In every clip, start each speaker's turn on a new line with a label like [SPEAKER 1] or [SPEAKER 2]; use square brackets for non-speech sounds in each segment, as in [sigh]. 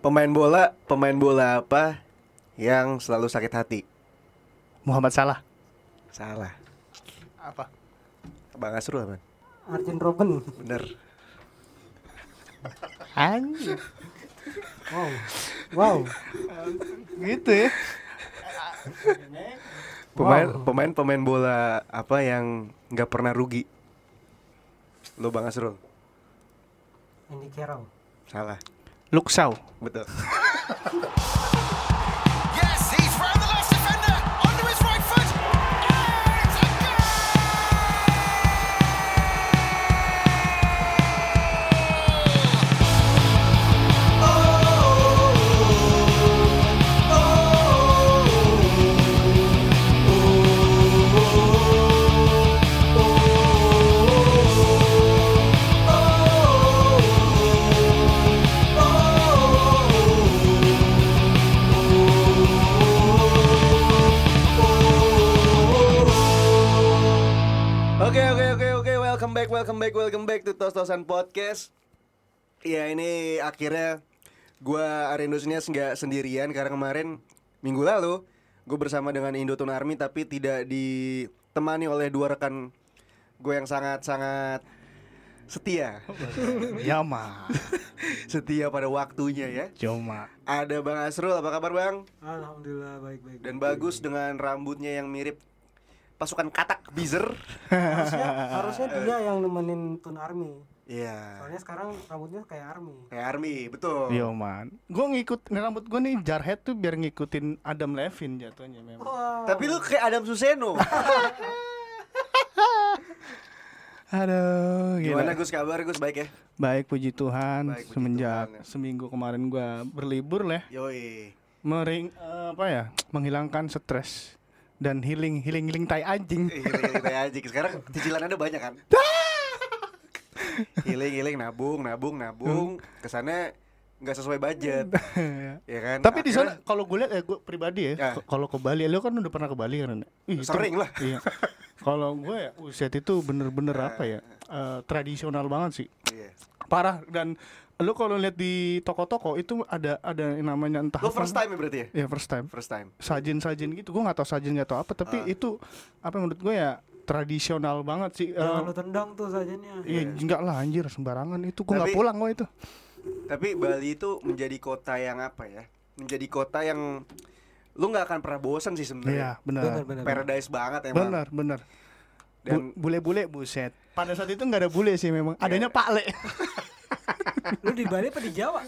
[SPEAKER 1] Pemain bola, pemain bola apa yang selalu sakit hati?
[SPEAKER 2] Muhammad Salah.
[SPEAKER 1] Salah.
[SPEAKER 2] Apa?
[SPEAKER 1] Bang Asrul apa?
[SPEAKER 3] Arjen Robben.
[SPEAKER 1] Bener.
[SPEAKER 2] Anjir.
[SPEAKER 3] Wow. Wow.
[SPEAKER 2] Gitu ya.
[SPEAKER 1] Pemain pemain pemain bola apa yang nggak pernah rugi? Lo Bang Asrul.
[SPEAKER 3] Ini Carroll.
[SPEAKER 1] Salah.
[SPEAKER 2] [laughs] Luksau.
[SPEAKER 1] Betul.
[SPEAKER 4] Yes, he's round the last defender. Under his right foot. And it's a goal!
[SPEAKER 1] Oke oke oke oke welcome back welcome back welcome back to Tos Tosan Podcast. Ya ini akhirnya gua Arendosnya nggak sendirian karena kemarin minggu lalu gue bersama dengan Indotun Army tapi tidak ditemani oleh dua rekan gue yang sangat sangat setia [laughs]
[SPEAKER 2] Yama.
[SPEAKER 1] setia pada waktunya ya.
[SPEAKER 2] Cuma.
[SPEAKER 1] Ada Bang Asrul apa kabar Bang?
[SPEAKER 3] Alhamdulillah baik-baik.
[SPEAKER 1] Dan bagus dengan rambutnya yang mirip pasukan katak Bizer.
[SPEAKER 3] Harusnya, harusnya dia yang nemenin Tun Army.
[SPEAKER 1] Iya.
[SPEAKER 3] Soalnya sekarang rambutnya kayak Army.
[SPEAKER 1] Kayak Army betul.
[SPEAKER 2] Yo man. Gue Ya, ngikut rambut gue nih jarhead tuh biar ngikutin Adam Levine jatuhnya memang.
[SPEAKER 3] Wow.
[SPEAKER 1] Tapi lu kayak Adam Suseno.
[SPEAKER 2] Aduh,
[SPEAKER 1] Gimana
[SPEAKER 2] gila.
[SPEAKER 1] Gus kabar Gus baik ya?
[SPEAKER 2] Baik puji Tuhan
[SPEAKER 1] Baik, puji
[SPEAKER 2] semenjak
[SPEAKER 1] Tuhan, ya.
[SPEAKER 2] seminggu kemarin gue berlibur lah,
[SPEAKER 1] Yoi.
[SPEAKER 2] mering eh, apa ya? Menghilangkan stres dan healing healing healing tai anjing. [laughs]
[SPEAKER 1] Eh, Healing-healing aja. Sekarang cicilan ada banyak kan? Healing-healing nabung, nabung, nabung. Kesana nggak sesuai budget, ya kan?
[SPEAKER 2] Tapi di
[SPEAKER 1] Akhirnya
[SPEAKER 2] sana kalau gue lihat eh, gue pribadi
[SPEAKER 1] Ya.
[SPEAKER 2] ya, k- kalau ke Bali, lo kan udah pernah ke Bali kan? Ren? Ih, itu-
[SPEAKER 1] Sering lah.
[SPEAKER 2] Iya. Kalau gue ya, uset itu bener-bener apa ya? eh, tradisional banget sih.
[SPEAKER 1] iya.
[SPEAKER 2] Parah dan lo kalau lihat di toko-toko itu ada ada yang namanya entah
[SPEAKER 1] Lo
[SPEAKER 2] apa.
[SPEAKER 1] first time ya berarti ya?
[SPEAKER 2] Ya first time.
[SPEAKER 1] First time.
[SPEAKER 2] Sajen-sajen gitu, gue nggak tahu sajen nggak tahu apa, tapi itu apa menurut gue ya tradisional banget sih. Eh,
[SPEAKER 3] Jangan lu tendang tuh ya. sajennya.
[SPEAKER 2] Iya, enggak lah anjir sembarangan itu gue nggak
[SPEAKER 1] Tapi-
[SPEAKER 2] pulang gue itu.
[SPEAKER 1] Tapi Bali itu menjadi kota yang apa ya? Menjadi kota yang lu nggak akan pernah bosan sih sebenarnya.
[SPEAKER 2] Iya, benar.
[SPEAKER 3] Bener, bener, bener.
[SPEAKER 1] Paradise banget emang.
[SPEAKER 2] Benar, benar.
[SPEAKER 1] Dan-
[SPEAKER 2] Bu- bule-bule buset. Iya. Pada saat itu nggak ada bule sih memang. Adanya Pak [laughs] Le.
[SPEAKER 3] Lu di Bali apa di Jawa?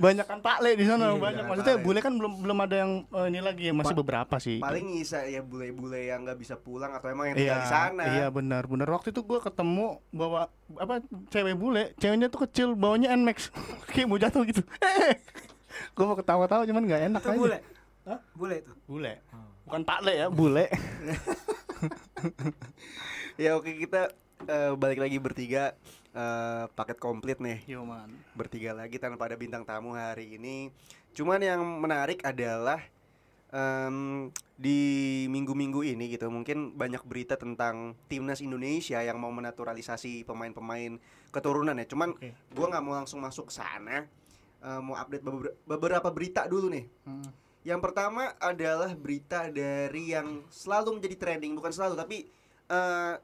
[SPEAKER 2] banyak kan Pak Le di sana,
[SPEAKER 1] Iya,
[SPEAKER 2] banyak.
[SPEAKER 1] Pak
[SPEAKER 2] Maksudnya
[SPEAKER 1] Le.
[SPEAKER 2] bule kan belum belum ada yang eh, ini lagi ya, masih beberapa sih.
[SPEAKER 1] Paling ngisa ya bule-bule yang nggak bisa pulang atau emang yang tinggal
[SPEAKER 2] Iya,
[SPEAKER 1] di sana.
[SPEAKER 2] iya benar, benar. Waktu itu gua ketemu bawa apa cewek bule, ceweknya tuh kecil, bawanya Nmax, [laughs] kayak mau jatuh gitu. [laughs] gua mau ketawa-tawa cuman nggak enak
[SPEAKER 3] Itu
[SPEAKER 2] aja.
[SPEAKER 3] bule.
[SPEAKER 2] Hah?
[SPEAKER 3] Bule itu.
[SPEAKER 1] Oh,
[SPEAKER 2] Bule. Bukan Pak Le ya, bule.
[SPEAKER 1] Ya oke kita eh, balik lagi bertiga eh, paket komplit nih.
[SPEAKER 2] [laughs] Yo man.
[SPEAKER 1] Bertiga lagi tanpa ada bintang tamu hari ini. Cuman yang menarik adalah em, di minggu-minggu ini gitu mungkin banyak berita tentang timnas Indonesia yang mau menaturalisasi pemain-pemain keturunan ya. Cuman
[SPEAKER 2] Oke.
[SPEAKER 1] gua nggak mau langsung masuk ke sana. Eh, mau update beber- beberapa berita dulu nih.
[SPEAKER 2] Hmm.
[SPEAKER 1] Yang pertama adalah berita dari yang selalu menjadi trending, bukan selalu tapi eh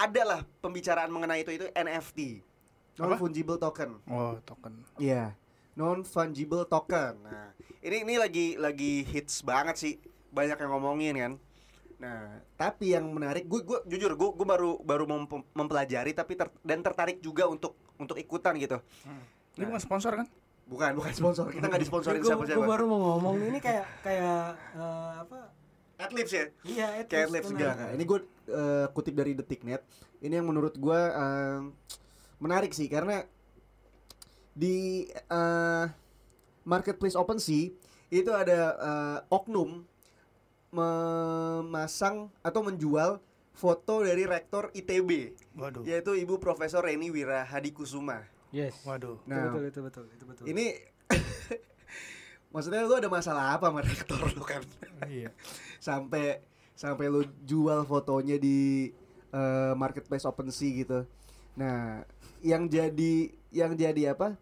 [SPEAKER 1] adalah pembicaraan mengenai itu itu NFT. Non
[SPEAKER 2] Apa?
[SPEAKER 1] fungible token.
[SPEAKER 2] Oh, token.
[SPEAKER 1] Iya. Non fungible token. Nah, ini ini lagi lagi hits banget sih. Banyak yang ngomongin kan. Nah, tapi yang menarik gue gue jujur gue gue baru baru mem- mempelajari tapi ter- dan tertarik juga untuk untuk ikutan gitu.
[SPEAKER 2] Ini bukan sponsor kan?
[SPEAKER 1] Bukan bukan sponsor. Kita nggak disponsorin
[SPEAKER 3] Gue
[SPEAKER 1] siapa-siapa.
[SPEAKER 3] baru mau ngomong ini kayak kayak eh, apa?
[SPEAKER 1] Adlibs ya.
[SPEAKER 3] Iya, itu.
[SPEAKER 1] Kayak lips enggak, enggak. Ini gue kutip dari detiknet. Ini yang menurut gue menarik sih karena di eh, marketplace OpenSea itu ada eh, oknum memasang atau menjual foto dari rektor ITB
[SPEAKER 2] Waduh.
[SPEAKER 1] yaitu Ibu Profesor Reni Nah, Wirahadi Kusuma.
[SPEAKER 3] Yes.
[SPEAKER 2] Waduh.
[SPEAKER 3] Itu
[SPEAKER 1] Nah.
[SPEAKER 3] betul, itu betul, itu betul.
[SPEAKER 1] Ini [laughs] maksudnya lu ada masalah apa sama rektor lu kan?
[SPEAKER 2] Iya.
[SPEAKER 1] [laughs] sampai sampai lu jual fotonya di eh, marketplace OpenSea gitu. Nah, yang jadi yang jadi apa?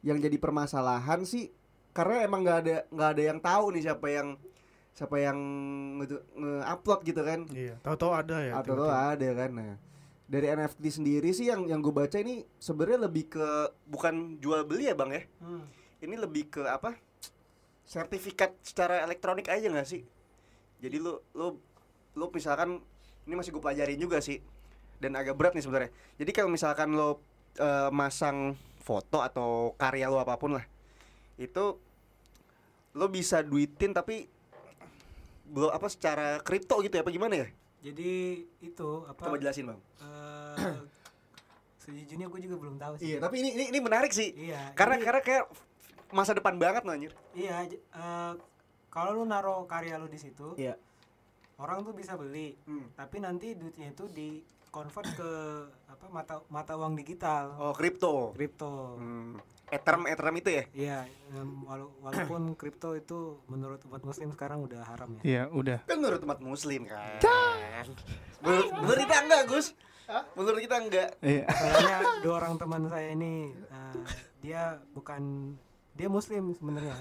[SPEAKER 1] yang jadi permasalahan sih karena emang nggak ada nggak ada yang tahu nih siapa yang siapa yang nge- nge-upload gitu kan
[SPEAKER 2] Iya, tahu-tahu ada ya.
[SPEAKER 1] atau lo
[SPEAKER 2] tiba-tiba.
[SPEAKER 1] ada kan nah dari NFT sendiri sih yang yang gue baca ini sebenarnya lebih ke bukan jual beli ya bang ya
[SPEAKER 3] Hmm.
[SPEAKER 1] ini lebih ke apa sertifikat secara elektronik aja nggak sih jadi lu lu lu misalkan ini masih gue pelajarin juga sih dan agak berat nih sebenarnya jadi kalau misalkan lo eh, masang foto atau karya lo apapun lah itu lo bisa duitin tapi belum apa secara kripto gitu ya apa gimana ya
[SPEAKER 3] Jadi itu apa?
[SPEAKER 1] coba jelasin bang
[SPEAKER 3] eh, sejujurnya gue juga belum tahu sih.
[SPEAKER 1] Iya, tapi ini ini, ini menarik sih.
[SPEAKER 3] Iya,
[SPEAKER 1] Karena
[SPEAKER 3] ini-
[SPEAKER 1] karena kayak masa depan banget loh, anjir.
[SPEAKER 3] Iya, j- eh, kalau lu naro karya lu di situ,
[SPEAKER 1] Iya.
[SPEAKER 3] orang tuh bisa beli.
[SPEAKER 1] Hmm.
[SPEAKER 3] Tapi nanti duitnya itu di convert ke apa mata mata uang digital,
[SPEAKER 1] Oh, kripto.
[SPEAKER 3] kripto.
[SPEAKER 1] Hmm. Ethereum Ethereum itu ya.
[SPEAKER 3] Iya, em, walau-
[SPEAKER 1] [clears throat]
[SPEAKER 3] walaupun kripto itu menurut umat muslim sekarang udah
[SPEAKER 1] [laughs]
[SPEAKER 3] haram ya.
[SPEAKER 2] Iya, udah.
[SPEAKER 1] Kan menurut umat muslim kan. Menurut, menurut kita enggak, Gus. Menurut kita enggak.
[SPEAKER 2] Iya.
[SPEAKER 3] Soalnya dua orang teman saya ini eh, dia bukan dia muslim sebenarnya.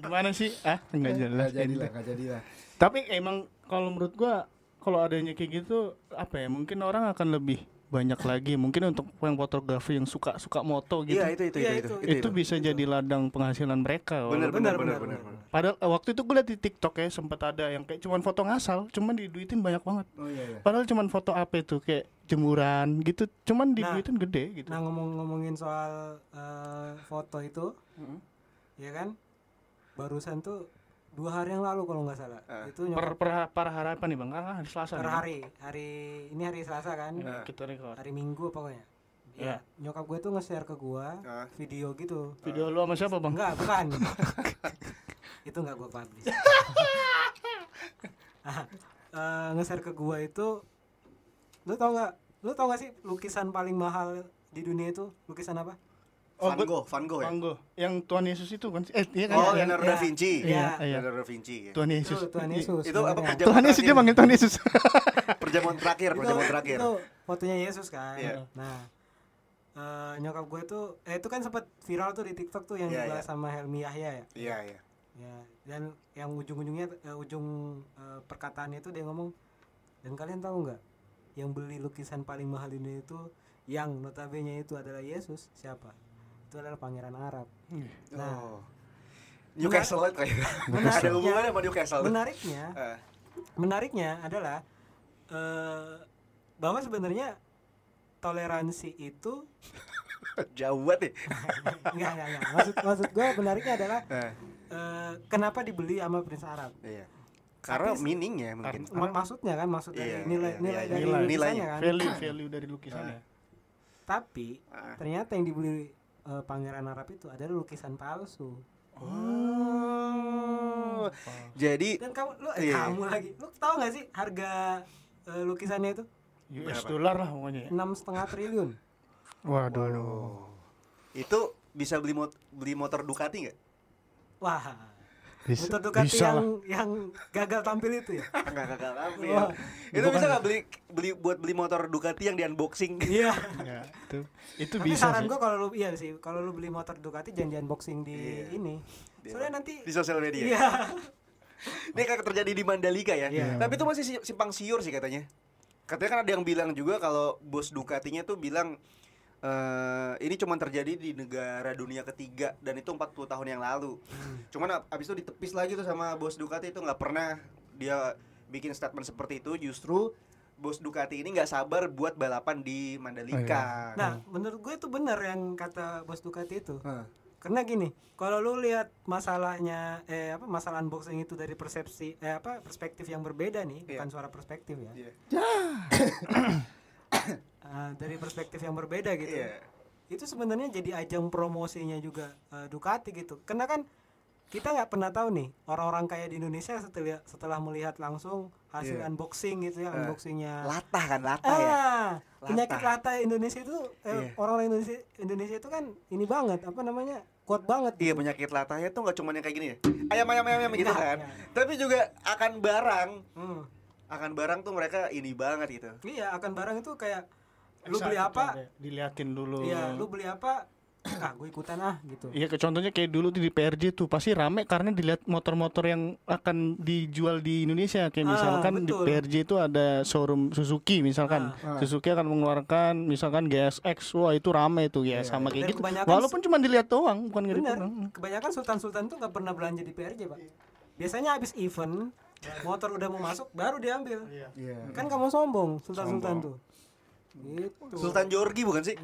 [SPEAKER 2] Gimana sih? Ah, enggak jelas. gitu.
[SPEAKER 1] enggak jadilah.
[SPEAKER 2] Tapi emang kalau menurut gua kalau adanya kayak gitu apa ya? Mungkin orang akan lebih banyak lagi mungkin untuk yang fotografi yang suka suka moto gitu.
[SPEAKER 1] Iya, itu itu
[SPEAKER 3] Iya,
[SPEAKER 1] itu.
[SPEAKER 3] itu.
[SPEAKER 2] itu, bisa jadi ladang penghasilan
[SPEAKER 1] Benar
[SPEAKER 2] mereka. walaupun-
[SPEAKER 1] benar
[SPEAKER 3] Benar,
[SPEAKER 1] benar
[SPEAKER 3] benar,
[SPEAKER 1] benar.
[SPEAKER 3] benar.
[SPEAKER 2] Padahal eh, waktu itu gue liat di TikTok ya sempat ada yang kayak cuman foto ngasal, cuman diduitin banyak banget.
[SPEAKER 1] Oh iya iya.
[SPEAKER 2] Padahal cuman foto apa itu kayak jemuran gitu, cuman diduitin gede gitu.
[SPEAKER 3] Nah ngomong-ngomongin soal eh, foto itu,
[SPEAKER 2] Hmm.
[SPEAKER 3] ya kan? Barusan tuh dua hari yang lalu kalau nggak salah
[SPEAKER 2] Ah,
[SPEAKER 3] itu
[SPEAKER 2] per,
[SPEAKER 3] nyokap
[SPEAKER 2] per, per harapan nih Bang. Ah, hari Selasa
[SPEAKER 3] Iya. per
[SPEAKER 2] nih.
[SPEAKER 3] hari hari ini hari Selasa kan,
[SPEAKER 2] Bang. Kita record.
[SPEAKER 3] hari Minggu pokoknya.
[SPEAKER 2] Ya.
[SPEAKER 3] Ya. Nyokap gue tuh nge-share ke gua
[SPEAKER 1] Ah.
[SPEAKER 3] video gitu.
[SPEAKER 2] Video lu sama siapa Bang?
[SPEAKER 3] Enggak,
[SPEAKER 2] [laughs]
[SPEAKER 3] bukan. itu enggak gua publish. Ah, eh, nge-share ke gua itu lu tau nggak? Lu tau nggak sih lukisan paling mahal di dunia itu lukisan apa?
[SPEAKER 2] Oh,
[SPEAKER 1] Van
[SPEAKER 2] gua-
[SPEAKER 1] Gogh, Van Gogh ya.
[SPEAKER 2] Bang Go. Yang Tuhan Yesus itu kan? Eh, iya kan?
[SPEAKER 1] Oh,
[SPEAKER 2] Iya.
[SPEAKER 1] Leonardo da Vinci.
[SPEAKER 2] Iya,
[SPEAKER 3] Iya.
[SPEAKER 2] iya.
[SPEAKER 1] Leonardo da Vinci. ya.
[SPEAKER 2] Tuhan
[SPEAKER 3] Itu
[SPEAKER 2] Yesus. Iya.
[SPEAKER 3] Tuhan
[SPEAKER 1] Itu
[SPEAKER 3] Yesus.
[SPEAKER 1] apa
[SPEAKER 3] sebenarnya.
[SPEAKER 1] perjamuan
[SPEAKER 2] Tuhan Yesus dia manggil Tuhan Yesus.
[SPEAKER 1] perjamuan terakhir,
[SPEAKER 3] Itu-
[SPEAKER 1] perjamuan terakhir.
[SPEAKER 3] Itu fotonya Yesus kan.
[SPEAKER 1] Iya.
[SPEAKER 3] Nah, eh, nyokap gue tuh eh itu kan sempat viral tuh di TikTok tuh yang
[SPEAKER 1] Iya, iya.
[SPEAKER 3] dibahas sama Helmi Yahya ya.
[SPEAKER 1] Iya, iya.
[SPEAKER 3] Ya, dan yang ujung-ujungnya eh, ujung eh, perkataannya itu dia ngomong dan kalian tahu nggak yang beli lukisan paling mahal di dunia itu yang notabene itu adalah Yesus siapa? Itu adalah pangeran Arab. Nah.
[SPEAKER 1] Oh. Newcastle kayak.
[SPEAKER 3] Menarik.
[SPEAKER 1] Ada hubungannya sama Newcastle.
[SPEAKER 3] Menariknya,
[SPEAKER 1] Eh.
[SPEAKER 3] menariknya adalah eh bahwa sebenarnya toleransi itu
[SPEAKER 1] Jauh banget ya.
[SPEAKER 3] enggak enggak enggak. Maksud maksud gue menariknya adalah
[SPEAKER 1] Eh,
[SPEAKER 3] eh, kenapa dibeli sama Prince Arab?
[SPEAKER 1] iya. Karena
[SPEAKER 3] Tapi-
[SPEAKER 1] meaningnya mungkin.
[SPEAKER 3] Ma- maksudnya kan
[SPEAKER 1] Iya,
[SPEAKER 3] maksud dari
[SPEAKER 1] iya,
[SPEAKER 3] nilai nilai
[SPEAKER 1] iya,
[SPEAKER 3] dari
[SPEAKER 2] iya.
[SPEAKER 3] lukisannya
[SPEAKER 1] Nilainya.
[SPEAKER 3] kan.
[SPEAKER 2] value value dari
[SPEAKER 3] Nah.
[SPEAKER 2] ya. lukisannya.
[SPEAKER 3] Tapi
[SPEAKER 1] Ah.
[SPEAKER 3] ternyata yang dibeli eh, pangeran Arab itu adalah lukisan palsu.
[SPEAKER 1] Oh. Jadi
[SPEAKER 3] Dan kamu lu eh,
[SPEAKER 1] Iya.
[SPEAKER 3] kamu lagi. Lu tahu nggak sih harga eh, lukisannya itu
[SPEAKER 2] US dollar lah pokoknya ya.
[SPEAKER 3] enam setengah triliun.
[SPEAKER 2] Waduh.
[SPEAKER 1] itu bisa beli mot- beli motor Ducati
[SPEAKER 3] [laughs]
[SPEAKER 1] nggak?
[SPEAKER 3] Wah.
[SPEAKER 2] Bisa-
[SPEAKER 3] Motor Ducati
[SPEAKER 2] bisa
[SPEAKER 3] yang yang gagal tampil itu ya.
[SPEAKER 1] Enggak enggak enggak lampu ya.
[SPEAKER 3] Wah.
[SPEAKER 1] Itu bisa nggak beli beli buat beli motor Ducati yang di unboxing?
[SPEAKER 3] Iya.
[SPEAKER 2] Ya, itu itu
[SPEAKER 3] Tapi
[SPEAKER 2] bisa
[SPEAKER 3] saran
[SPEAKER 2] sih.
[SPEAKER 3] gua kalau lu iya sih, kalau lu beli motor Ducati jangan unboxing di ini. Soalnya nanti
[SPEAKER 1] di sosial media. [laughs]
[SPEAKER 3] Iya.
[SPEAKER 1] Ini kan terjadi di Mandalika ya.
[SPEAKER 3] Iya.
[SPEAKER 1] Tapi itu masih si- simpang siur sih katanya. Katanya kan ada yang bilang juga kalau bos Ducatinya tuh bilang eh ini cuma terjadi di negara dunia ketiga dan itu 40 tahun yang lalu. Cuman ab- abis itu ditepis lagi tuh sama bos Ducati itu nggak pernah dia bikin statement seperti itu justru bos Ducati ini nggak sabar buat balapan di Mandalika.
[SPEAKER 3] Nah, menurut gue itu benar yang kata Bos Ducati itu.
[SPEAKER 1] Hah.
[SPEAKER 3] Karena gini, kalau lu lihat masalahnya eh apa masalah unboxing itu dari persepsi eh apa perspektif yang berbeda nih,
[SPEAKER 1] Iya.
[SPEAKER 3] bukan suara perspektif ya.
[SPEAKER 1] Iya.
[SPEAKER 3] Eh, dari perspektif yang berbeda gitu.
[SPEAKER 1] Iya.
[SPEAKER 3] Itu sebenarnya jadi ajang promosinya juga eh, Ducati gitu. Karena kan kita nggak pernah tahu nih orang-orang kaya di Indonesia setelah setelah melihat langsung hasil
[SPEAKER 1] Iya.
[SPEAKER 3] unboxing gitu ya,
[SPEAKER 1] Eh,
[SPEAKER 3] unboxingnya
[SPEAKER 1] Latah kan latah ya.
[SPEAKER 3] Ah,
[SPEAKER 1] Latah.
[SPEAKER 3] penyakit lata Indonesia itu
[SPEAKER 1] Iya.
[SPEAKER 3] eh, orang-orang Indonesia Indonesia itu kan ini banget apa namanya kuat banget
[SPEAKER 1] Iya penyakit latahnya tuh nggak cuma yang kayak gini ya. Ayam ayam ayam ayam gitu kan. Tapi juga akan barang,
[SPEAKER 3] Hmm.
[SPEAKER 1] akan barang tuh mereka ini banget gitu.
[SPEAKER 3] Iya akan barang itu kayak lu beli apa?
[SPEAKER 2] Diliatin dulu.
[SPEAKER 3] Iya, lu beli apa? ah gue ikutan ah gitu
[SPEAKER 2] Iya, kayak contohnya kayak dulu tuh di PRJ tuh pasti rame karena dilihat motor-motor yang akan dijual di Indonesia. Kayak
[SPEAKER 3] Ah,
[SPEAKER 2] misalkan di
[SPEAKER 3] betul. Ah,
[SPEAKER 2] PRJ itu ada showroom Suzuki misalkan. Suzuki akan mengeluarkan misalkan GSX. Wah, itu rame tuh ya, sama
[SPEAKER 3] Dan
[SPEAKER 2] kayak gitu.
[SPEAKER 3] Iya, kebanyakan-
[SPEAKER 2] Walaupun cuma dilihat doang, bukan ngerti
[SPEAKER 3] Bener.
[SPEAKER 2] orang.
[SPEAKER 3] Kebanyakan sultan-sultan tuh nggak pernah belanja di PRJ pak. Biasanya habis event, motor udah mau masuk baru diambil.
[SPEAKER 1] Iya.
[SPEAKER 3] Kan kamu sombong sultan-sultan tuh. Gitu.
[SPEAKER 1] Sultan Jorgi bukan [laughs] sih?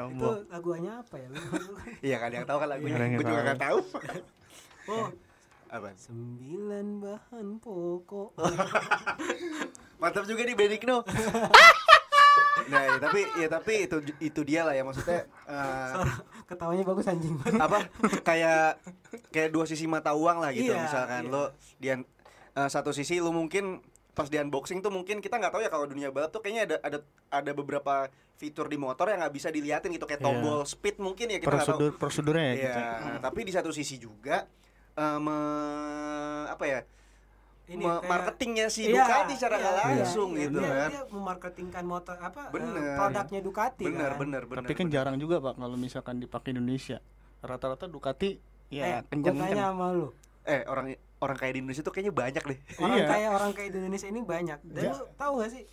[SPEAKER 3] Itu laguannya apa ya? [laughs]
[SPEAKER 1] Iya kan yang tahu kan lagunya.
[SPEAKER 2] Orang yang
[SPEAKER 1] Gue juga
[SPEAKER 2] tahu.
[SPEAKER 1] gak tahu. [laughs]
[SPEAKER 3] oh,
[SPEAKER 1] Apaan?
[SPEAKER 3] sembilan bahan pokok.
[SPEAKER 1] Mantap juga nih [laughs] Benigno. nah, ya, tapi ya tapi itu itu dia lah ya [laughs] maksudnya eh,
[SPEAKER 3] Ketawanya bagus anjing.
[SPEAKER 1] apa kayak kayak dua sisi mata uang lah gitu
[SPEAKER 3] Iya,
[SPEAKER 1] misalkan
[SPEAKER 3] iya.
[SPEAKER 1] lo di un- eh, satu sisi lo mungkin pas di unboxing tuh mungkin kita nggak tahu ya kalau dunia balap tuh kayaknya ada ada ada beberapa fitur di motor yang nggak bisa diliatin gitu kayak
[SPEAKER 2] Iya.
[SPEAKER 1] tombol speed mungkin ya kita nggak tahu
[SPEAKER 2] Prosedur prosedurnya ya,
[SPEAKER 1] Iya,
[SPEAKER 2] gitu.
[SPEAKER 1] tapi di satu sisi juga eh, me- apa ya
[SPEAKER 3] [laughs]
[SPEAKER 1] me-
[SPEAKER 3] Ini kayak-
[SPEAKER 1] marketingnya si
[SPEAKER 3] Iya,
[SPEAKER 1] Ducati secara nggak
[SPEAKER 3] iya,
[SPEAKER 1] langsung
[SPEAKER 3] iya,
[SPEAKER 1] gitu
[SPEAKER 3] dia,
[SPEAKER 1] kan.
[SPEAKER 3] Dia memarketingkan motor apa eh,
[SPEAKER 1] Bener.
[SPEAKER 3] produknya Ducati
[SPEAKER 1] Bener,
[SPEAKER 3] kan.
[SPEAKER 1] bener, bener.
[SPEAKER 2] Tapi kan jarang juga, Pak, kalau misalkan dipakai Indonesia. Rata-rata Ducati
[SPEAKER 3] eh,
[SPEAKER 2] ya
[SPEAKER 3] gua tanya
[SPEAKER 2] kencang-kencang.
[SPEAKER 3] sama lu.
[SPEAKER 1] eh orang orang kaya di Indonesia tuh kayaknya banyak deh.
[SPEAKER 3] Orang
[SPEAKER 2] Iya.
[SPEAKER 3] kaya orang kaya di Indonesia ini banyak. Dan
[SPEAKER 2] Iya.
[SPEAKER 3] lu tahu gak sih?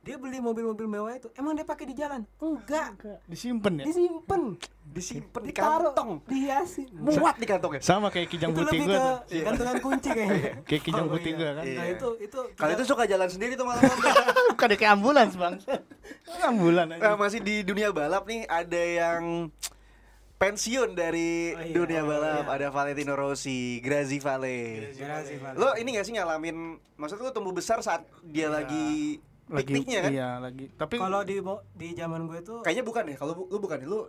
[SPEAKER 3] Dia beli mobil-mobil mewah itu, emang dia pakai di jalan? Enggak.
[SPEAKER 2] Disimpan ya.
[SPEAKER 3] Disimpen,
[SPEAKER 1] Disimpan di
[SPEAKER 3] ditaruh,
[SPEAKER 1] kantong,
[SPEAKER 3] dihiasin.
[SPEAKER 1] muat di kantongnya.
[SPEAKER 2] Sama kayak kijang
[SPEAKER 3] Itu
[SPEAKER 2] putih
[SPEAKER 3] lebih
[SPEAKER 2] gua.
[SPEAKER 3] ke
[SPEAKER 2] tuh.
[SPEAKER 3] [laughs] gantungan kunci kayaknya.
[SPEAKER 2] Kayak kijang
[SPEAKER 1] Oh,
[SPEAKER 2] putih
[SPEAKER 1] iya.
[SPEAKER 2] gua kan.
[SPEAKER 1] Iya.
[SPEAKER 3] Nah, itu itu
[SPEAKER 1] Kalau itu suka jalan sendiri tuh malam
[SPEAKER 2] [laughs] Bukan kayak ambulans bang Ambulan aja
[SPEAKER 1] Eh, masih di dunia balap nih ada yang pensiun dari
[SPEAKER 3] Oh, iya.
[SPEAKER 1] dunia balap.
[SPEAKER 3] Iya.
[SPEAKER 1] Ada Valentino Rossi, Grazi Vale.
[SPEAKER 3] Garasi, Pak.
[SPEAKER 1] Lo ini gak sih ngalamin maksud lo tumbuh besar saat dia
[SPEAKER 3] Iya.
[SPEAKER 1] lagi pikniknya kan?
[SPEAKER 2] Iya lagi Tapi
[SPEAKER 3] kalau di mo- di zaman gue tuh
[SPEAKER 1] Kayaknya bukan ya. Kalau bu- lu bukan ya, lu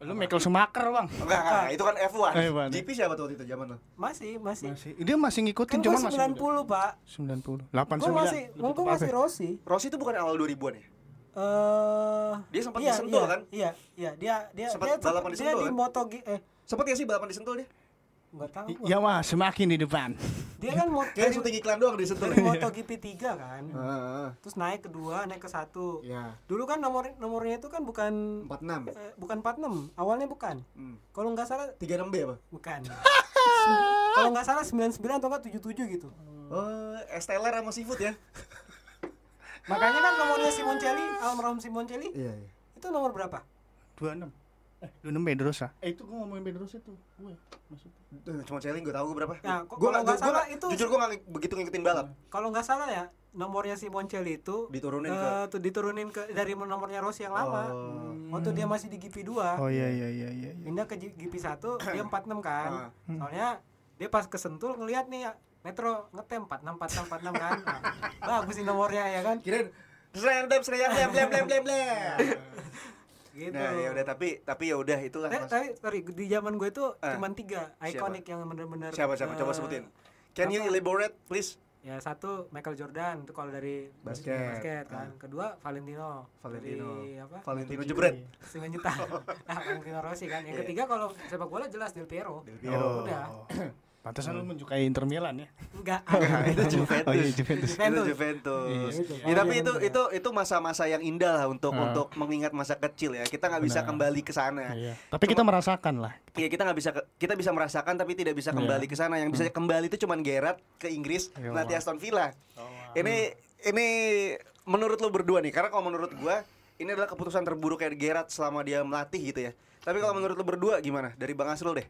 [SPEAKER 2] Lu Michael Schumacher bang
[SPEAKER 1] enggak, enggak, itu kan F1.
[SPEAKER 2] Eh, bukan.
[SPEAKER 1] GP siapa tuh waktu itu zaman lo?
[SPEAKER 3] masih masih,
[SPEAKER 2] masih, Dia masih ngikutin
[SPEAKER 3] kan gue
[SPEAKER 2] cuman masih
[SPEAKER 3] 90 pak
[SPEAKER 2] 90
[SPEAKER 3] gue
[SPEAKER 2] 89
[SPEAKER 3] masih
[SPEAKER 2] Lebih
[SPEAKER 3] gue
[SPEAKER 2] tepatnya.
[SPEAKER 3] masih Rossi
[SPEAKER 1] Rossi itu bukan awal 2000-an ya?
[SPEAKER 3] eh
[SPEAKER 1] Dia sempat
[SPEAKER 3] iya,
[SPEAKER 1] disentuh,
[SPEAKER 3] iya,
[SPEAKER 1] kan?
[SPEAKER 3] Iya, iya, dia dia
[SPEAKER 1] Sempat
[SPEAKER 3] dia,
[SPEAKER 1] balapan
[SPEAKER 3] dia
[SPEAKER 1] disentuh,
[SPEAKER 3] di
[SPEAKER 1] kan?
[SPEAKER 3] Moto G- eh
[SPEAKER 1] Sempet ya sih balapan disentuh dia?
[SPEAKER 3] enggak tahu.
[SPEAKER 2] I-
[SPEAKER 3] gua.
[SPEAKER 2] Ya wah semakin di depan
[SPEAKER 3] Dia kan moto
[SPEAKER 1] Kayak syuting iklan doang Ah, disentuh.
[SPEAKER 3] dari
[SPEAKER 1] Heeh.
[SPEAKER 3] Moto GP3 kan.
[SPEAKER 1] heeh.
[SPEAKER 3] Terus naik ke dua, naik ke satu.
[SPEAKER 1] Ya,
[SPEAKER 3] Dulu kan nomor nomornya itu kan bukan
[SPEAKER 1] 46.
[SPEAKER 3] eh, bukan 46, awalnya bukan.
[SPEAKER 1] Hmm.
[SPEAKER 3] Kalau nggak salah
[SPEAKER 1] 36B apa?
[SPEAKER 3] bukan. Kalau nggak salah 99 atau enggak 77 gitu.
[SPEAKER 1] Oh, Esteller sama seafood ya?
[SPEAKER 3] Makanya kan nomornya Simoncelli, almarhum Simoncelli
[SPEAKER 1] Iya, iya.
[SPEAKER 3] itu nomor berapa?
[SPEAKER 2] 26 Eh 26 Pedrosa Eh itu gue ngomongin Pedrosa tuh Gue maksudnya
[SPEAKER 1] Nah, Cuma celeng gue tahu gue berapa.
[SPEAKER 3] Nah, kok-
[SPEAKER 1] Gua
[SPEAKER 3] kalau nggak
[SPEAKER 1] gua- gua
[SPEAKER 3] salah
[SPEAKER 1] nggak-
[SPEAKER 3] itu-
[SPEAKER 1] jujur gue nggak begitu ngikutin balap.
[SPEAKER 3] Kalau nggak salah ya, nomornya Simoncelli itu
[SPEAKER 1] Diturunin
[SPEAKER 3] eh,
[SPEAKER 1] ke-
[SPEAKER 3] tuh diturunin ke dari nomornya Rossi yang lama.
[SPEAKER 1] Oh.
[SPEAKER 3] Waktu dia masih di GP2.
[SPEAKER 2] Oh iya iya iya iya iya.
[SPEAKER 3] pindah ke G- GP1 dia 46
[SPEAKER 1] Ah.
[SPEAKER 3] kan soalnya dia pas ke Sentul ngelihat nih Metro ngetem 46 46 46 kan
[SPEAKER 1] [laughs]
[SPEAKER 3] nah, bagus sih nomornya ya kan
[SPEAKER 1] Kirain serendam serendam blem blem blem blem.
[SPEAKER 3] Nah, gitu
[SPEAKER 1] Nah, ya udah tapi tapi ya udah itulah.
[SPEAKER 3] Eh,
[SPEAKER 1] Mas.
[SPEAKER 3] tapi sorry di zaman gue tuh
[SPEAKER 1] Ah.
[SPEAKER 3] cuman tiga ikonik yang benar-benar
[SPEAKER 1] Siapa siapa coba
[SPEAKER 3] eh,
[SPEAKER 1] sebutin. Can you elaborate please?
[SPEAKER 3] ya satu Michael Jordan itu kalau dari
[SPEAKER 1] Basket. Ah.
[SPEAKER 3] kan kedua Valentino
[SPEAKER 1] Valentino.
[SPEAKER 3] dari apa
[SPEAKER 1] Valentino jebret.
[SPEAKER 3] Steven [laughs] Juta nah Valentino Rossi kan yang ketiga kalau sepak bola jelas Del Piero Del
[SPEAKER 2] Oh
[SPEAKER 3] udah
[SPEAKER 2] [clears throat] Pantesan lu menyukai Inter Milan ya
[SPEAKER 3] [laughs] enggak
[SPEAKER 1] Nah, itu
[SPEAKER 2] Oh iya
[SPEAKER 1] Juventus.
[SPEAKER 2] Juventus
[SPEAKER 1] Itu
[SPEAKER 3] Juventus.
[SPEAKER 1] Juventus.
[SPEAKER 3] Iya, itu.
[SPEAKER 1] Ya, tapi itu
[SPEAKER 3] Iya.
[SPEAKER 1] itu itu masa-masa yang indah lah untuk
[SPEAKER 2] Ah.
[SPEAKER 1] untuk mengingat masa kecil ya. Kita nggak bisa
[SPEAKER 2] Benar.
[SPEAKER 1] kembali ke sana.
[SPEAKER 2] Iya. Tapi kita merasakan lah
[SPEAKER 1] Iya kita nggak bisa ke- kita bisa merasakan tapi tidak bisa kembali ke sana. Yang bisa kembali itu cuman Gerrard ke Inggris
[SPEAKER 2] Iya,
[SPEAKER 1] nanti Aston Villa. Ini ini menurut lo berdua nih karena kalau menurut gua ini adalah keputusan terburuk kayak Gerrard selama dia melatih gitu ya. Tapi kalau menurut lo berdua gimana? Dari Bang Asrul deh.